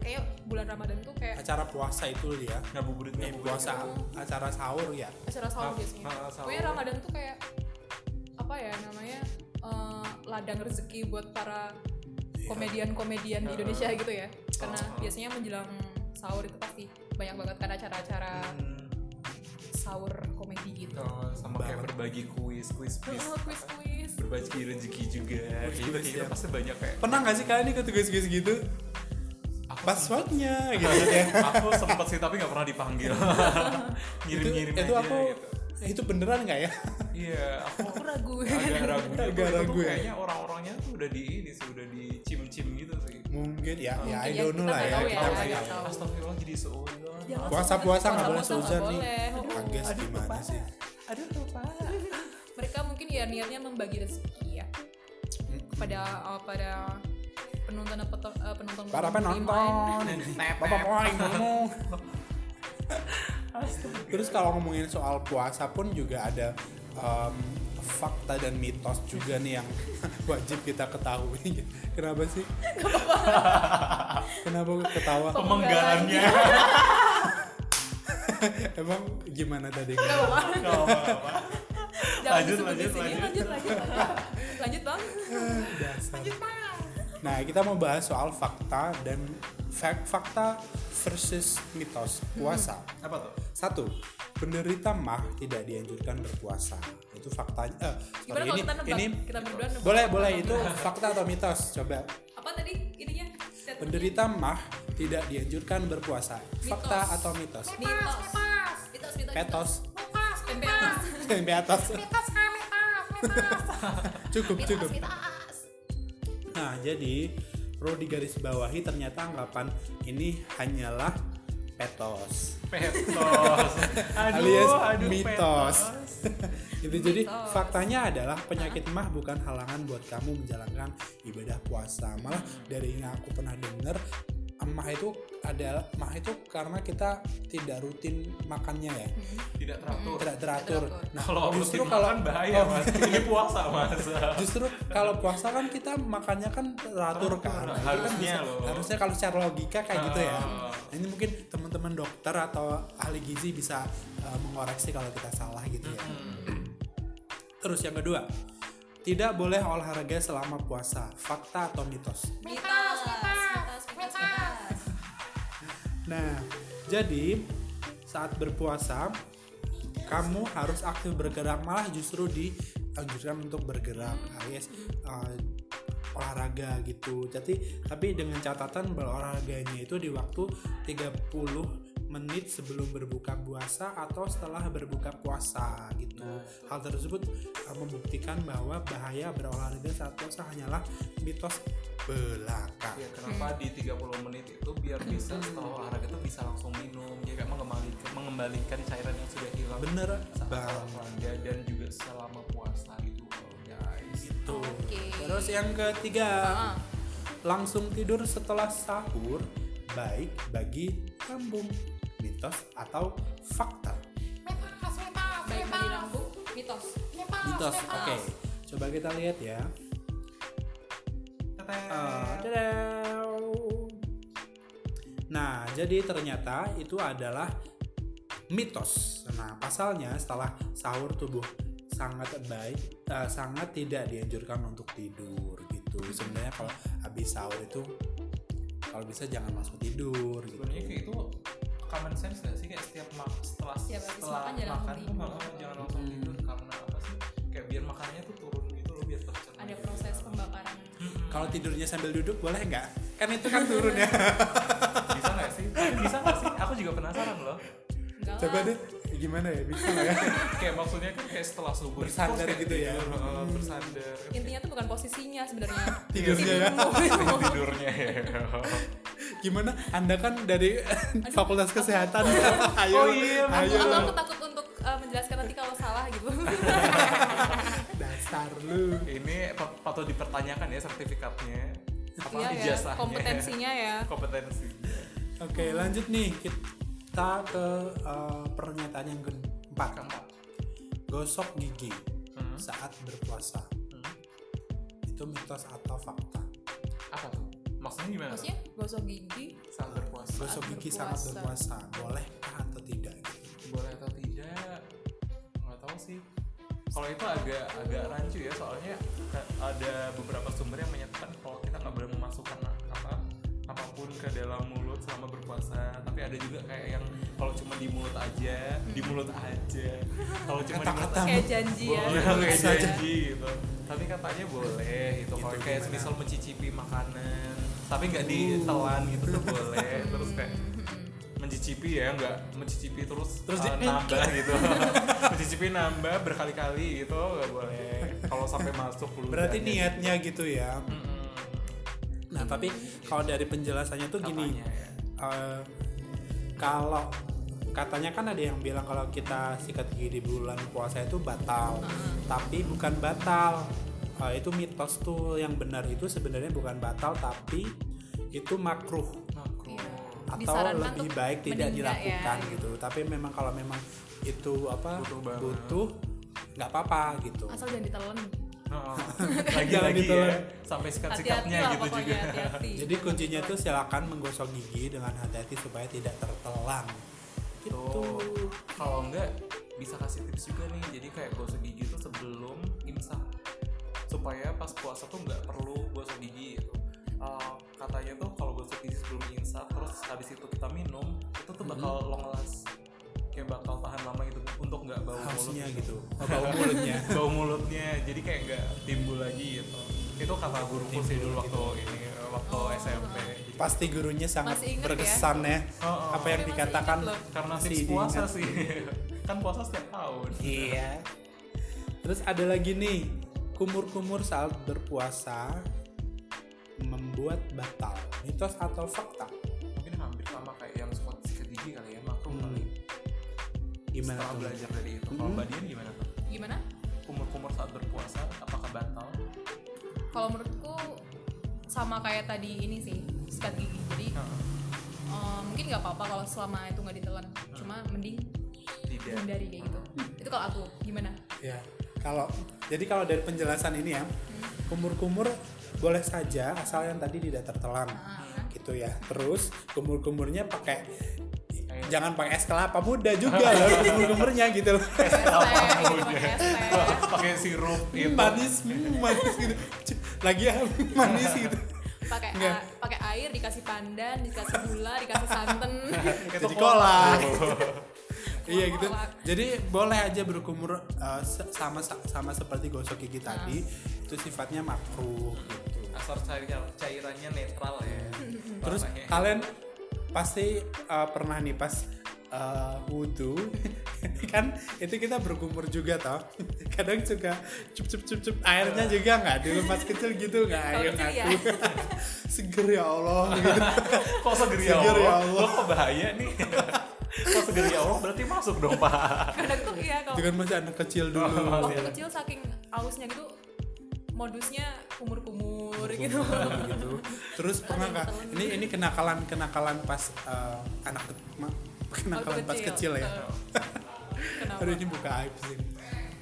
S2: Kayak bulan Ramadan tuh kayak
S3: acara puasa itu ya
S1: ngabuburit
S3: eh, puasa acara sahur ya
S2: acara sahur
S1: Ah,
S2: biasanya.
S1: ah, sahur.
S2: Pokoknya Ramadan tuh kayak apa ya namanya eh, ladang rezeki buat para komedian-komedian di Indonesia gitu ya. Karena
S1: Iya. Ah, ah.
S2: biasanya menjelang sahur itu pasti banyak banget kan acara-acara
S1: Hmm.
S2: sahur komedi gitu.
S1: sama kayak berbagi kuis kuis kuis
S2: Oh, kuis-kuis.
S1: berbagi rezeki juga
S3: Kuis-kuis,
S1: gitu gitu
S3: ya.
S1: pasti banyak kayak
S3: pernah nggak sih kalian ikut tugas-tugas gitu
S1: Aku
S3: passwordnya gitu ya
S1: aku sempet sih tapi nggak pernah dipanggil ngirim
S3: itu,
S1: ngirim
S3: itu
S1: aja
S3: aku
S1: gitu
S3: itu beneran nggak ya
S1: iya aku
S2: Aku ragu.
S1: agak ragu gitu.
S3: Agak
S1: Itu tuh
S3: ragu ya.
S1: kayaknya orang-orangnya tuh udah di ini sih udah dicim-cim gitu sih
S3: mungkin ya ya I
S2: Mungkin ya,
S3: don't know
S2: kita
S3: lah
S2: nggak
S3: ya
S2: tahu ya,
S3: kita nggak
S2: nggak
S3: tahu.
S2: tahu.
S1: Astagfirullah jadi seuzon
S2: Jangan
S3: puasa puasa nggak boleh
S2: Puasa-puasa nggak
S3: seuzon nih
S2: boleh. Aduh,
S3: Agnes gimana sih
S1: aduh lupa
S2: Mereka mungkin ya niatnya membagi rezeki ya
S3: Hmm.
S2: kepada eh, pada penonton eh, penonton
S3: para
S2: penonton
S3: penonton
S1: Tep,
S3: bapak
S1: tep.
S3: poin ngomong terus kalau ngomongin soal puasa pun juga ada em, fakta dan mitos juga nih yang wajib kita ketahui. Kenapa sih? Kenapa gue ketawa?
S1: Pemenggalannya.
S3: Emang gimana tadi?
S1: Gak apa-apa.
S2: Jangan
S1: Lanjut,
S2: disebut di
S1: lanjut,
S2: sini.
S1: lanjut.
S2: lanjut, lanjut, lanjut, lanjut bang,
S3: Dasar.
S2: lanjut bang.
S3: Nah, kita mau bahas soal fakta dan fak- fakta versus mitos puasa.
S2: Hmm.
S1: Apa tuh?
S3: Satu, penderita mah tidak dianjurkan berpuasa. Itu faktanya. Eh,
S2: Gimana
S3: sorry,
S2: kalau
S3: ini
S2: kita nebak?
S3: ini
S2: kita berdua nebak.
S3: boleh boleh itu fakta atau mitos? Coba.
S2: Apa tadi ininya? Statementnya?
S3: Penderita mah tidak dianjurkan berpuasa. Fakta
S2: Mitos.
S3: atau mitos?
S2: mitos, mitos, mitos,
S3: Petos.
S2: mitos, petos,
S3: Di atas.
S2: mitos, ah, mitos,
S3: Cukup
S2: mitos,
S3: cukup.
S2: mitos, mitos.
S3: Nah, jadi perlu digarisbawahi ternyata anggapan ini hanyalah petos.
S1: Petos. Aduh,
S3: alias
S1: aduh,
S3: mitos. itu Gitu, jadi
S2: Mitos.
S3: faktanya adalah penyakit mah bukan halangan buat kamu menjalankan ibadah puasa. Malah dari yang aku pernah dengar mah itu adalah mah itu karena kita tidak rutin makannya ya,
S1: Tidak teratur.
S3: tidak teratur.
S2: teratur.
S3: Nah,
S1: Kalau
S3: justru
S1: rutin
S3: kalau
S1: makan bahaya
S3: oh,
S1: mas. Ini puasa mas.
S3: justru kalau puasa kan kita makannya kan teratur kan. Nah, itu kan
S1: Harusnya
S3: bisa-
S1: loh.
S3: Harusnya kalau secara logika kayak gitu ya.
S1: Ah.
S3: Nah, ini mungkin teman-teman dokter atau ahli gizi bisa eh, mengoreksi kalau kita salah gitu ya. Terus yang kedua, tidak boleh olahraga selama puasa. Fakta atau mitos?
S2: mitos, mitos, mitos, mitos.
S3: Nah, jadi saat berpuasa kamu harus aktif bergerak malah justru dianjurkan untuk bergerak alias eh, olahraga gitu. Jadi tapi dengan catatan berolahraganya itu di waktu 30 menit sebelum berbuka puasa atau setelah berbuka puasa gitu. Hal tersebut eh, membuktikan bahwa bahaya berolahraga saat puasa hanyalah mitos belaka.
S1: Ya, kenapa di 30 menit itu biar bisa
S2: Hmm.
S1: setelah olahraga tuh bisa langsung minum ya kayak mengembalikan mengembalikan cairan yang sudah hilang
S3: Bener
S1: saat
S3: banget.
S1: olahraga dan juga selama puasa gitu loh, guys.
S3: Tuh.
S2: Oke.
S3: Terus yang ketiga,
S2: Ah,
S3: langsung tidur setelah sahur baik bagi lambung. Mitos atau fakta?
S2: baik bagi lambung, mitos.
S3: Mitos. Oke. Coba kita lihat ya. Eh, tadaw. Nah, jadi ternyata itu adalah mitos. Nah, pasalnya setelah sahur tubuh sangat baik, eh, sangat tidak dianjurkan untuk tidur gitu. Sebenarnya kalau habis sahur itu kalau bisa jangan masuk tidur gitu.
S1: sebenarnya kayak itu common sense gak sih kayak setiap mak- setelah
S2: Setiap habis
S1: setelah
S2: makan jangan
S1: tuh
S2: langsung
S1: makan
S2: tidur.
S1: jangan langsung
S3: Hmm.
S1: tidur karena apa sih kayak biar makanannya tuh turun gitu Hmm. loh biar tercerna
S2: Ada proses pembakaran.
S3: Kalau tidurnya sambil duduk boleh nggak? Kan itu kan turun ya.
S1: bisa gak sih bisa gak sih aku juga penasaran loh
S2: Enggak
S3: Coba
S2: lah.
S3: deh gimana ya bisa nggak ya?
S1: kayak maksudnya kan kayak setelah subuh itu
S3: Bersandar
S1: terus kayak
S3: gitu ya.
S1: tidur, heeh,
S2: Hmm.
S1: bersandar
S2: Intinya tuh bukan posisinya sebenarnya.
S3: Tidurnya ya.
S2: Tidurmu.
S1: tidurnya ya
S3: Gimana? Anda kan dari Fakultas Kesehatan. ayo,
S1: Oh iya,
S3: ayo.
S2: Aku aku takut untuk eh, menjelaskan nanti kalau salah gitu.
S3: Dasar lu.
S1: ini pat- patut dipertanyakan ya sertifikatnya apa
S2: Iya ya,
S1: ijazahnya
S2: kompetensinya ya.
S1: kompetensi
S3: Oke, lanjut nih kita ke eh, pernyataan yang keempat.
S1: keempat
S3: Gosok gigi
S1: Hmm.
S3: saat berpuasa.
S1: Hmm.
S3: Itu mitos atau fakta?
S1: apa tuh maksudnya gimana tuh?
S2: Maksudnya gosok gigi
S1: saat berpuasa
S3: Gosok gigi saat
S2: berpuasa.
S3: berpuasa, bolehkah atau tidak?
S1: boleh atau tidak nggak tahu sih kalau itu agak agak rancu ya soalnya ka- ada beberapa sumber yang menyatakan kalau kita nggak boleh memasukkan a- apa apapun ke dalam mulut selama berpuasa tapi ada juga kayak yang kalau cuma di mulut aja di
S2: Hmm.
S1: mulut aja kalau cuma di mulut
S3: Kata-kata.
S1: aja
S2: kayak janji ya.
S3: Iya,
S1: boleh kayak
S3: Saja.
S1: janji gitu tapi katanya boleh gitu
S3: Gitu,
S1: kalau kayak
S3: gimana?
S1: misal mencicipi makanan tapi nggak ditelan gitu tuh boleh terus kayak mencicipi ya nggak mencicipi terus
S3: Terus
S1: eh,
S3: di-
S1: nambah gitu mencicipi nambah berkali-kali gitu nggak boleh kalau sampai masuk dulu
S3: Berarti niatnya gitu ya. Nah, tapi kalau dari penjelasannya tuh gini.
S1: gini ya.
S3: Eh, kalau katanya kan ada yang bilang kalau kita sikat gigi di bulan puasa itu batal tapi bukan batal Eh, itu mitos tuh yang benar itu sebenarnya bukan batal tapi itu makruh
S1: makro
S2: Iya.
S3: atau
S2: Disarankan
S3: lebih
S2: untuk
S3: baik tidak
S2: menunda ya,
S3: dilakukan
S2: gitu.
S3: gitu tapi memang kalau memang itu apa
S1: Butuh banget.
S3: butuh nggak apa-apa gitu
S2: asal jangan ditelan
S1: Oh, lagi-lagi
S3: ditelan.
S1: ya sampai
S2: hati-hati
S1: sikat-sikatnya
S2: lah
S1: gitu
S2: pokoknya
S1: juga
S2: hati-hati
S3: jadi kuncinya tuh silakan menggosok gigi dengan hati-hati supaya tidak tertelan gitu
S1: Tuh. Kalau enggak bisa kasih tips juga nih. Jadi kayak gosok gigi tuh sebelum imsak supaya pas puasa tuh nggak perlu gosok gigi gitu. Eh, katanya tuh kalau gosok gigi sebelum imsak terus habis itu kita minum itu tuh bakal
S3: Mm-hmm.
S1: long last kayak bakal tahan lama gitu untuk nggak bau mulut
S3: harusnya gitu Oh, bau mulutnya
S1: bau mulutnya jadi kayak nggak timbul lagi gitu itu kata guruku sih
S3: gitu.
S1: dulu waktu ini waktu
S3: Oh.
S1: SMP Jadi-
S3: pasti gurunya sangat
S2: Masih inget ya?
S3: berkesan ya,
S1: Oh, oh.
S3: apa yang
S2: Masih
S3: dikatakan
S2: inget loh.
S1: karena
S3: masih
S1: tips puasa
S3: diingat.
S1: sih kan puasa setiap tahun
S3: iya terus ada lagi nih kumur-kumur saat berpuasa membuat batal mitos atau fakta
S1: mungkin hampir sama kayak yang squat sikat gigi kali ya makro
S3: Hmm.
S1: kali
S3: gimana
S1: setelah
S3: tuh
S1: belajar dari itu kalau
S3: Hmm.
S1: mbak Dian gimana tuh
S2: gimana
S1: kumur-kumur saat berpuasa apakah batal
S2: kalau menurutku sama kayak tadi ini sih sikat gigi jadi eh, mungkin nggak apa-apa kalau selama itu nggak ditelan cuma mending
S3: Iya.
S1: tidak
S2: hindari kayak gitu itu kalau aku gimana
S3: ya kalau jadi kalau dari penjelasan ini ya kumur-kumur boleh saja asal yang tadi tidak tertelan
S2: Ah.
S3: gitu ya terus kumur-kumurnya pakai
S1: Air.
S3: jangan pakai es kelapa muda juga loh kumur-kumurnya gitu loh
S2: es teh gitu pakai
S3: Iya.
S2: es teh
S1: pakai sirup itu
S3: manis mm, manis gitu C- lagi ya manis gitu
S2: pakai a-
S3: Nggak.
S2: pakai air dikasih pandan dikasih gula dikasih santan
S3: jadi
S1: kolak.
S3: kolak iya gitu
S2: Kolak.
S3: jadi boleh aja berkumur uh, se- sama sama seperti gosok gigi tadi itu sifatnya makruh gitu
S1: asal cair- cairannya netral ya eh,
S3: Terus
S1: Warnanya.
S3: kalian pasti uh, pernah nih pas uh, wudhu kan itu kita berkumur juga tau kadang suka cup cup cup cup airnya juga nggak dulu pas kecil gitu nggak
S2: Iya. Kalau
S3: air
S2: kecil ya.
S3: ngaku seger ya allah gitu.
S1: kok seger ya
S3: Seger ya
S1: Allah
S3: Allah.
S1: lo kok bahaya nih kok seger ya Allah berarti masuk dong pak
S2: kadang tuh iya kalau
S3: itu kan masih anak
S2: Oh,
S3: kecil dulu
S2: waktu kecil saking ausnya gitu modusnya kumur-kumur gitu
S3: gitu. Terus pernah nggak? Ini ini kenakalan kenakalan pas eh, anak ke- ma- kenakalan pas kecil ya.
S2: Eh, kenapa
S3: Aduh ini buka aib sih.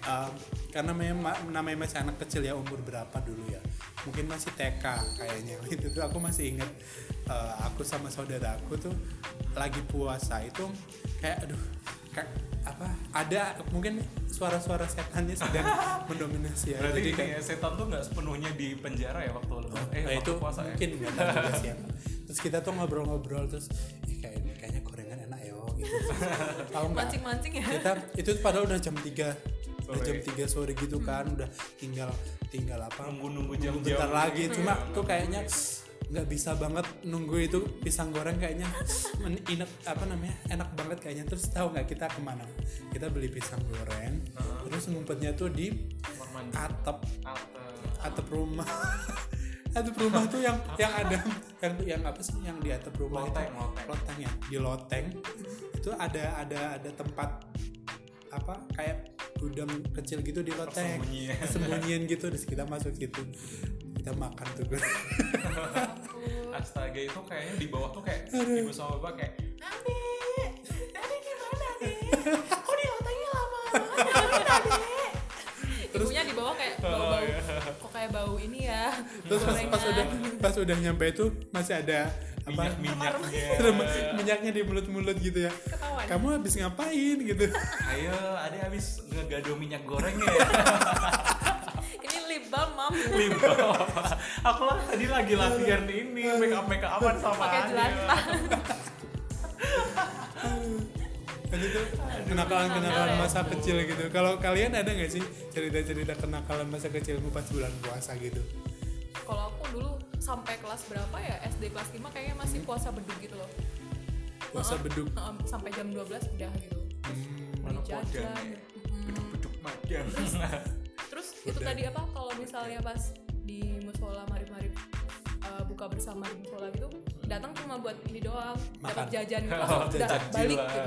S3: Eh, karena memang namanya masih anak kecil ya umur berapa dulu ya? Mungkin masih TK kayaknya. Itu tuh aku masih inget eh, aku sama saudara aku tuh lagi puasa itu kayak aduh kayak apa ada mungkin suara-suara setannya sedang mendominasi ya.
S1: berarti
S3: Jadi
S1: ini
S3: kayak-
S1: ya, setan tuh nggak sepenuhnya di penjara ya waktu lo eh
S3: Nah,
S1: waktu
S3: itu
S1: puasa ya
S3: mungkin nggak tahu juga sih ya. Terus kita tuh ngobrol-ngobrol terus "Ih, kayak ini kayaknya gorengan enak ya gitu. tahu nggak?
S2: mancing-mancing ya
S3: Kita itu padahal udah jam 3 udah
S1: Sore.
S3: jam 3 sore gitu kan udah tinggal tinggal apa
S1: nunggu-nunggu
S3: nunggu
S1: jam-jam gitu. Iya.
S3: bentar lagi cuma tuh kayaknya nggak bisa banget nunggu itu pisang goreng kayaknya men- inek apa namanya enak banget kayaknya terus tahu nggak kita kemana kita beli pisang goreng terus ngumpetnya tuh di
S1: kamar mandi
S3: atap
S1: atau
S3: atap rumah atap rumah tuh yang yang ada yang yang apa sih yang di atap rumah
S1: loteng
S3: itu
S1: loteng
S3: loteng ya di loteng itu ada ada ada tempat apa kayak gudang kecil gitu di loteng
S1: Persembunyian.
S3: sembunyian gitu terus kita masuk situ kita makan tuh gue Iya.
S1: astaga itu kayaknya di bawah tuh kayak ibu sama bapak kayak
S2: Nani Nani gimana nih kok di otaknya lama banget ibunya di bawah kayak bau-bau kok kayak bau ini ya
S3: Oh, iya. terus pas, pas
S2: Gorengan.
S3: udah pas udah nyampe itu masih ada apa
S1: minyak minyaknya
S3: minyaknya di mulut mulut gitu ya
S2: ketahuan
S3: kamu habis ngapain gitu
S1: ayo ada habis ngegado minyak gorengnya ya
S2: ini lip balm mam
S1: Limbo. aku lah tadi lagi latihan ini make up make upan sama
S2: pakai
S1: Adil.
S2: jelantah
S3: Dan itu kenakalan-kenakalan
S2: nakal ya.
S3: masa kecil gitu. Kalau kalian ada nggak sih cerita-cerita kenakalan masa kecilmu pas bulan puasa gitu?
S2: kalau aku dulu sampai kelas berapa ya SD kelas 5 kayaknya masih puasa beduk gitu loh
S3: Puasa beduk.
S2: Em, sampai jam 12 udah gitu
S1: mana
S2: Jajan.
S1: kodang ya beduk-beduk madang
S2: terus itu
S3: Udah.
S2: tadi apa kalau misalnya pas di musola marip-marip eh, buka bersama di musola gitu datang cuma buat ini doang dapat
S3: Makan.
S2: jajan gitu langsung udah
S1: Jajan
S2: balik
S1: gila.
S2: gitu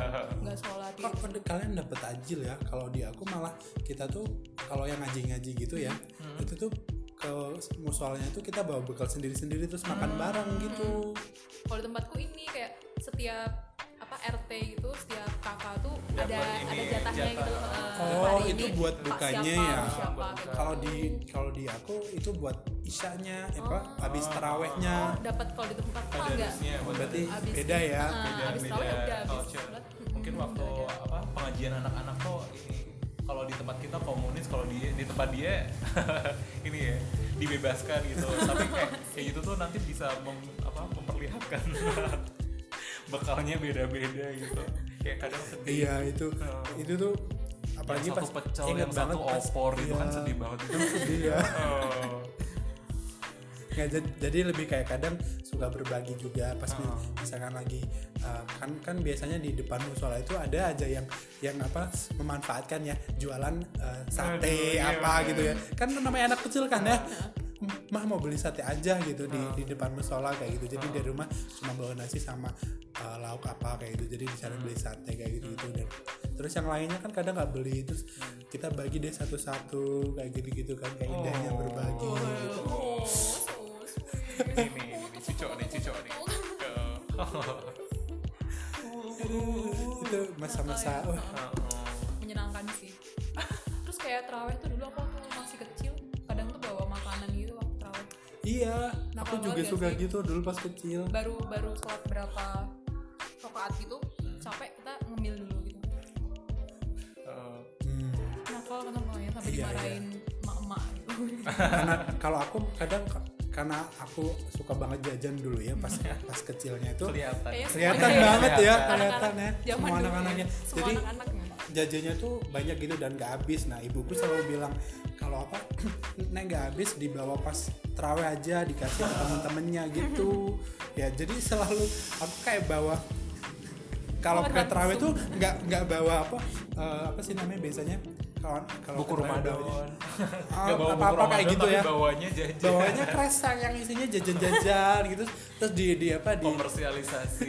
S2: nggak sholat
S3: Kok
S2: gitu.
S3: pada- kalian dapet ajil ya? Kalau di aku malah kita tuh kalau yang ngaji-ngaji gitu ya,
S1: Hmm.
S3: itu tuh ke musolanya tuh kita bawa
S1: Hmm.
S3: bekal sendiri-sendiri terus makan bareng gitu.
S2: kalau di tempatku ini kayak setiap apa apa RT gitu setiap kakak tuh
S1: Dapat
S2: ada ada
S1: ini,
S2: jatahnya
S1: jatah.
S2: gitu eh,
S3: Oh,
S2: hari
S3: itu
S2: ini
S3: buat
S2: Pak
S3: bukanya
S2: siapa,
S3: ya?
S2: Pak siapa,
S1: Buat
S2: gitu.
S1: buka.
S3: kalau di kalau di aku itu buat isanya ya apa habis
S2: oh,
S3: terawehnya
S2: dapat kalau di tempat
S1: ada
S2: kakak enggak
S1: harusnya buat
S3: berarti
S2: Habis-
S3: beda ya
S2: Ah,
S1: beda
S2: habis
S1: beda
S2: terawih udah habis
S1: culture
S2: sholat. Hmm,
S1: mungkin waktu apa pengajian anak-anak tuh ini kalau di tempat kita komunis kalau di di tempat dia ini ya dibebaskan gitu tapi kayak kayak gitu tuh nanti bisa mem- apa memperlihatkan bekalnya beda-beda gitu kayak kadang sedih
S3: iya itu
S1: Hmm.
S3: itu tuh
S1: yang
S3: apalagi pas
S1: satu pecel
S3: ingat
S1: yang satu
S3: pas-
S1: opor gitu kan
S3: iya.
S1: sedih banget itu
S3: sedih ya
S1: Oh.
S3: Nggak, Ya, jad- jadi lebih kayak kadang suka berbagi juga pas mi-
S1: Oh.
S3: misalkan lagi uh, kan kan biasanya di depan musola itu ada aja yang yang apa memanfaatkan ya jualan uh,
S1: Aduh,
S3: sate
S1: iya, Ah.
S3: apa
S1: iya.
S3: gitu ya kan namanya anak kecil kan ya mah mau beli sate aja gitu di,
S1: Ah.
S3: di depan musola kayak gitu jadi dari rumah cuma bawa nasi sama uh, lauk apa kayak gitu jadi di sana
S1: Hmm.
S3: beli sate kayak gitu gitu dan terus yang lainnya kan kadang nggak beli terus kita bagi deh satu-satu kayak gitu gitu kan kayak indahnya
S1: Hmm. Oh.
S3: berbagi gitu.
S2: Oh, so sweet.
S1: ini nih ini cicok nih cicok nih
S3: itu masa-masa
S2: Oh, iya.
S3: Oh, wah,
S2: menyenangkan sih terus kayak terawih tuh dulu aku waktu masih kecil kadang tuh bawa makanan gitu waktu terawih
S3: iya
S2: Nah,
S3: aku
S2: kalau
S3: juga
S2: keluarga
S3: suka
S2: sih.
S3: gitu dulu pas kecil
S2: baru baru sholat berapa rakaat gitu capek kita ngemil dulu gitu
S1: Oh.
S3: Hmm.
S2: kenapa kenapa ya sampai
S3: Iya,
S2: dimarahin emak-emak gitu
S3: karena kalau aku kadang karena aku suka banget jajan dulu ya pas
S2: Hmm.
S3: pas kecilnya itu
S1: kelihatan
S2: Kayaknya
S3: kelihatan
S2: Iya.
S3: banget ya
S1: Anak-anak
S3: kelihatan ya
S2: zaman
S3: semua
S2: dulu
S3: anak-anaknya
S2: ya, semua
S3: jadi
S2: anak-anaknya
S3: jajannya tuh banyak gitu dan gak habis nah ibuku selalu bilang kalau apa neng gak habis dibawa pas terawih aja dikasih ke temen-temennya gitu ya jadi selalu aku kayak bawa kalau
S2: Korban
S3: ke terawih tuh nggak nggak bawa apa eh, apa sih namanya biasanya kalau kalau
S1: buku
S3: ke terawih
S1: Ramadan
S3: bawanya-
S1: Nggak
S3: Ah,
S1: bawa buku
S3: apa-apa kayak
S1: Ramadan,
S3: gitu
S1: tapi
S3: ya
S1: bawanya jajan
S3: bawanya kresek yang isinya jajan-jajan gitu terus di di apa di
S1: komersialisasi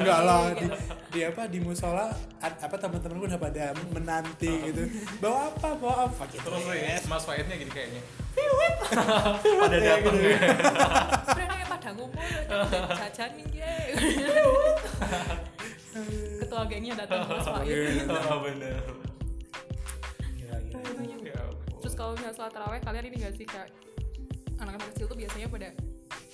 S3: enggak lah di, di apa di musola ad- apa teman-teman gue udah pada menanti gitu bawa apa bawa apa gitu
S1: terus ya, mas Faidnya gini kayaknya
S3: pada datang
S1: ya? Iya.
S2: sebenarnya kayak pada ngumpul jangan jajanin ya ketua gengnya datang terus pak
S3: Iya,
S1: oh, bener Ya ampun.
S2: Terus kalau misalnya setelah taraweh kalian ini gak sih kayak anak-anak kecil tuh biasanya pada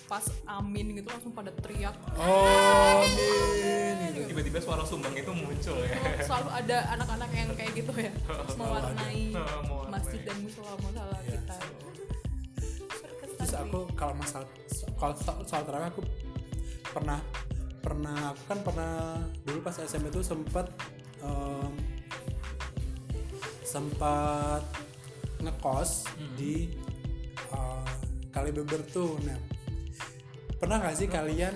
S2: pas amin gitu langsung pada teriak.
S3: oh amin
S1: tiba-tiba suara sumbang itu muncul ya
S2: Selalu ada anak-anak yang kayak gitu ya mewarnai
S1: Oh, mewarnai.
S2: masjid dan musola-musola
S3: Iya.
S2: kita.
S3: terus aku kalau masalah kalau soal, soal terawih aku pernah pernah aku kan pernah dulu pas SMP itu sempat em, sempat ngekos di eh, Kalibeber tuh nah pernah nggak sih kalian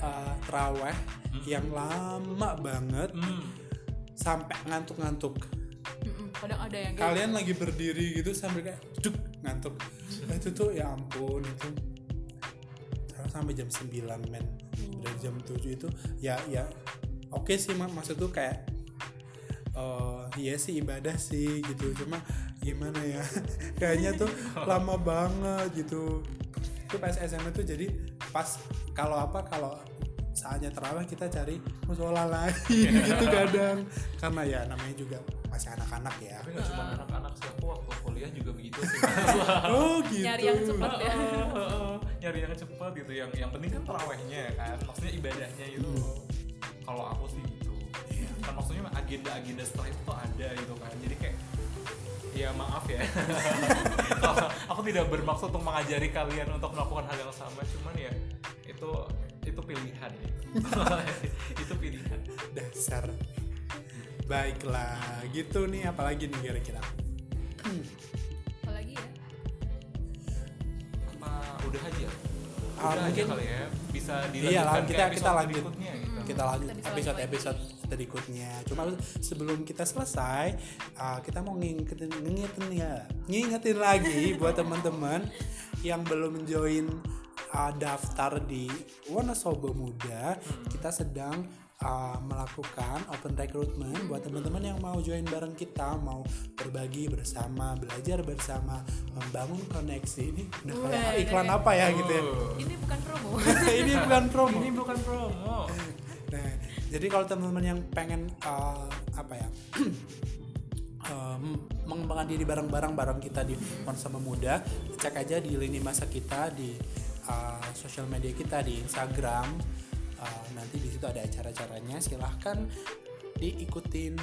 S3: eh, terawih yang lama banget
S1: hmm.
S3: sampai ngantuk-ngantuk
S2: Mm-mm, kadang ada yang Iya, kayak
S3: kalian lagi berdiri gitu sambil kayak duk ngantuk Nah, itu tuh ya ampun itu Terus sampai jam 9 men dari jam 7 itu ya ya oke sih mak maksud tuh kayak eh iya sih ibadah sih gitu cuma gimana ya kayaknya tuh lama banget gitu itu pas SMA tuh jadi pas kalau apa kalau saatnya terawih kita cari musola lain gitu kadang karena ya namanya juga masih anak-anak ya
S1: tapi nggak cuma anak-anak sih aku waktu kuliah juga begitu sih
S3: oh gitu
S2: nyari yang cepat ya.
S1: Heeh, nyari yang cepat gitu yang yang penting kan terawihnya kan maksudnya ibadahnya gitu kalau aku sih gitu
S3: Iya.
S1: kan maksudnya agenda agenda setelah itu tuh ada gitu kan jadi kayak ya maaf ya Kalau aku tidak bermaksud untuk mengajari kalian untuk melakukan hal yang sama cuman ya itu itu pilihan ya. itu pilihan
S3: dasar baiklah gitu nih apalagi nih kira-kira
S2: Apalagi ya.
S1: apa udah aja
S3: Ah,
S1: udah aja
S3: mungkin-
S1: kali ya bisa dilanjutkan
S3: Iya lah,
S1: ke
S3: kita- kita
S1: episode
S3: lanjut.
S1: berikutnya gitu.
S3: kita lanjut
S2: Hmm. Kita bisa
S3: episode
S2: lanjut
S3: episode berikutnya cuma sebelum kita selesai uh, kita mau ngingetin ngingetin ya ngingetin lagi buat teman-teman yang belum join uh, daftar di Wonosobo Muda
S2: Hmm.
S3: kita sedang uh, melakukan open recruitment buat teman-teman yang mau join bareng kita mau berbagi bersama belajar bersama membangun koneksi ini udah kayak
S2: Weh.
S3: iklan apa ya gitu ya
S1: Oh.
S2: Ini bukan promo.
S3: ini bukan promo
S1: bukan promo
S3: Nah, Jadi kalau teman-teman yang pengen eh, apa ya eh, mengembangkan diri bareng-bareng bareng kita di Ponsel Muda, cek aja di lini masa kita di eh, sosial media kita di Instagram. Eh, nanti di situ ada acara-acaranya. Silahkan diikutin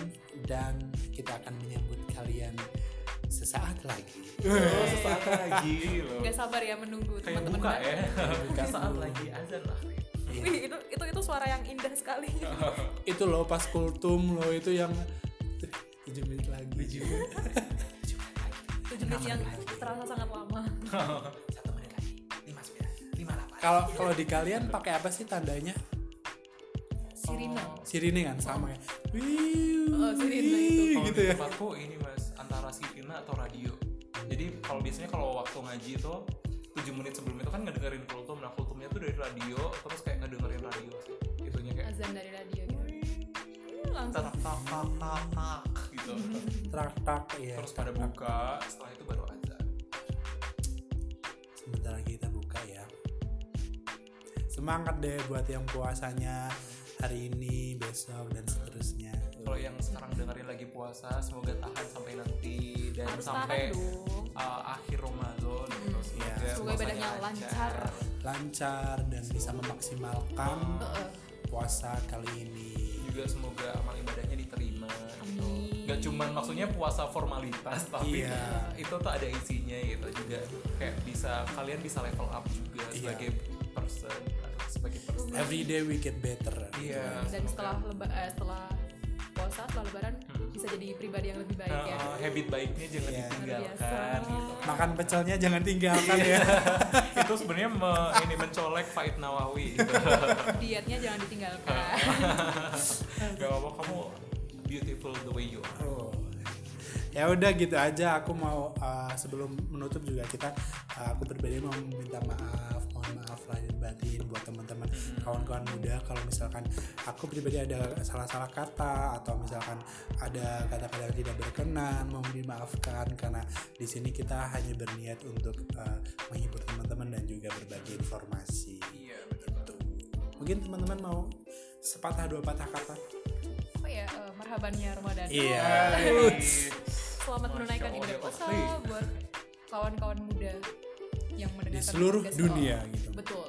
S3: dan kita akan menyambut kalian sesaat lagi.
S1: Oh, sesaat lagi loh.
S2: nggak sabar ya menunggu
S1: Kayak
S2: teman-teman
S1: buka
S2: gue.
S1: ya.
S3: Buka.
S1: Sesaat lagi azan lah.
S2: Wih, itu itu itu suara yang indah sekali
S3: Iya. itu loh pas kultum loh itu yang tujuh menit lagi
S2: tujuh menit yang
S3: gitu.
S2: terasa sangat lama
S1: Satu menit lagi. Lima sembilan. Lima delapan.
S3: kalau kalau di kalian pakai apa sih tandanya
S2: sirine
S1: Oh,
S3: sirine kan sama ya Wiu,
S2: Oh, sirine itu.
S3: wih,
S1: Kalau
S3: gitu
S1: di
S3: ya
S1: tempatku ini mas antara sirina atau radio. Jadi kalau biasanya kalau waktu ngaji itu 7 menit sebelum itu kan ngedengerin kultum nah kultumnya tuh dari radio terus kayak ngedengerin radio sih itunya kayak
S2: azan dari radio gitu. Hmm, langsung
S1: tak tak tak tak tak gitu
S3: trak trak ya
S1: terus pada buka setelah itu baru azan
S3: sebentar lagi kita buka ya semangat deh buat yang puasanya hari ini besok dan seterusnya
S1: kalau yang sekarang dengerin lagi puasa semoga tahan sampai nanti dan
S2: harus
S1: sampai
S2: tahan dong
S1: uh, akhir Ramadan gitu. Semoga,
S3: Iya.
S2: Hmm, Semoga ibadahnya
S1: puasanya
S2: lancar.
S3: lancar dan bisa memaksimalkan
S2: Heeh.
S3: puasa kali ini
S1: Juga semoga amal ibadahnya diterima. gitu.
S2: Amin.
S1: Gak cuman maksudnya puasa formalitas tapi
S3: Iya.
S1: itu tuh ada isinya gitu juga kayak bisa kalian bisa level up juga
S3: Iya.
S1: sebagai person atau sebagai person.
S2: Eh,
S3: every day we get better
S1: Iya.
S2: dan
S1: semoga.
S2: setelah leba- eh, setelah puasa setelah lebaran
S1: Hmm.
S2: bisa jadi pribadi yang lebih baik
S1: Nah,
S2: ya
S1: uh, habit baiknya jangan
S3: Iya.
S1: ditinggalkan
S2: Luar biasa.
S1: gitu.
S3: makan pecelnya jangan tinggalkan ya
S1: itu sebenarnya me- ini mencolek Faid Nawawi gitu.
S2: dietnya jangan ditinggalkan
S1: Gak apa-apa kamu beautiful the way you are.
S3: Oh. Ya udah gitu aja. Aku mau uh, sebelum menutup juga kita uh, aku pribadi mau minta maaf, mohon maaf lahir batin buat teman-teman kawan-kawan muda kalau misalkan aku pribadi ada salah-salah kata atau misalkan ada kata-kata yang tidak berkenan, mau dimaafkan karena di sini kita hanya berniat untuk uh, menghibur teman-teman dan juga berbagi informasi.
S1: Iya benar.
S3: Gitu. Mungkin teman-teman mau sepatah dua patah kata.
S2: oh ya eh, marhabannya Ramadan
S3: Iya.
S1: Iya. Hai. Masya
S2: selamat menunaikan
S1: Allah,
S2: ibadah
S1: ya
S2: puasa
S1: Allah.
S2: buat kawan-kawan muda yang
S3: di
S2: mendengarkan
S3: seluruh
S2: podcast.
S3: dunia
S2: Oh,
S3: gitu.
S2: betul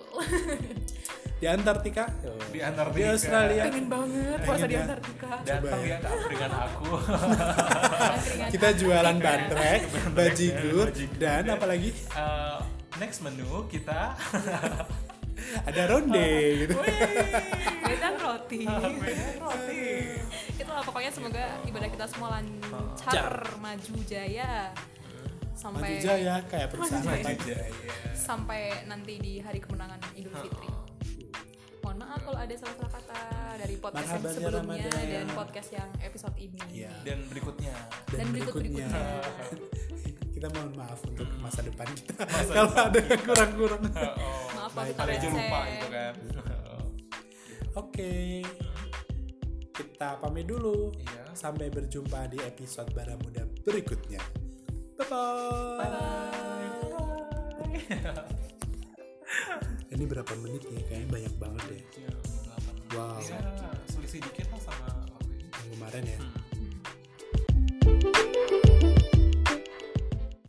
S3: di Antartika Oh.
S1: Di Antartika.
S3: di Australia
S2: pengen banget puasa di
S3: Pengen ya.
S2: Antartika
S1: Datang
S3: Coba
S1: ya
S3: ya.
S1: ke dengan aku.
S2: Keringat.
S3: kita jualan bantrek bajigur dan apalagi
S1: Eh, next menu kita
S3: ada ronde gitu
S2: Wedang roti
S1: roti.
S2: itu lah pokoknya semoga ibadah kita semua lancar maju jaya
S3: maju
S2: sampai
S3: jaya kayak perusahaan
S2: Maju
S3: apa iya.
S1: Jaya.
S2: sampai nanti di hari kemenangan Idul Fitri mohon maaf kalau ada salah-salah kata dari podcast yang
S3: Marhaban ya
S2: sebelumnya
S3: Ramadan.
S2: dan podcast yang episode ini
S3: Iya.
S1: Dan berikutnya
S2: dan berikut berikutnya
S3: kita mohon maaf untuk masa depan kita kalau ada yang kurang-kurang
S1: oh,
S2: maaf kalau
S3: Baik.
S2: kita
S1: ada aja
S2: receh.
S1: lupa gitu kan.
S3: oke kita pamit dulu
S1: Iya.
S3: sampai berjumpa di episode bara muda berikutnya bye
S1: Bye.
S3: ini berapa menit nih kayaknya banyak banget deh
S1: Jam 8. 음.
S3: Wow.
S1: Ya, selisih dikit lah sama waktu ini.
S3: yang kemarin ya
S1: Hmm.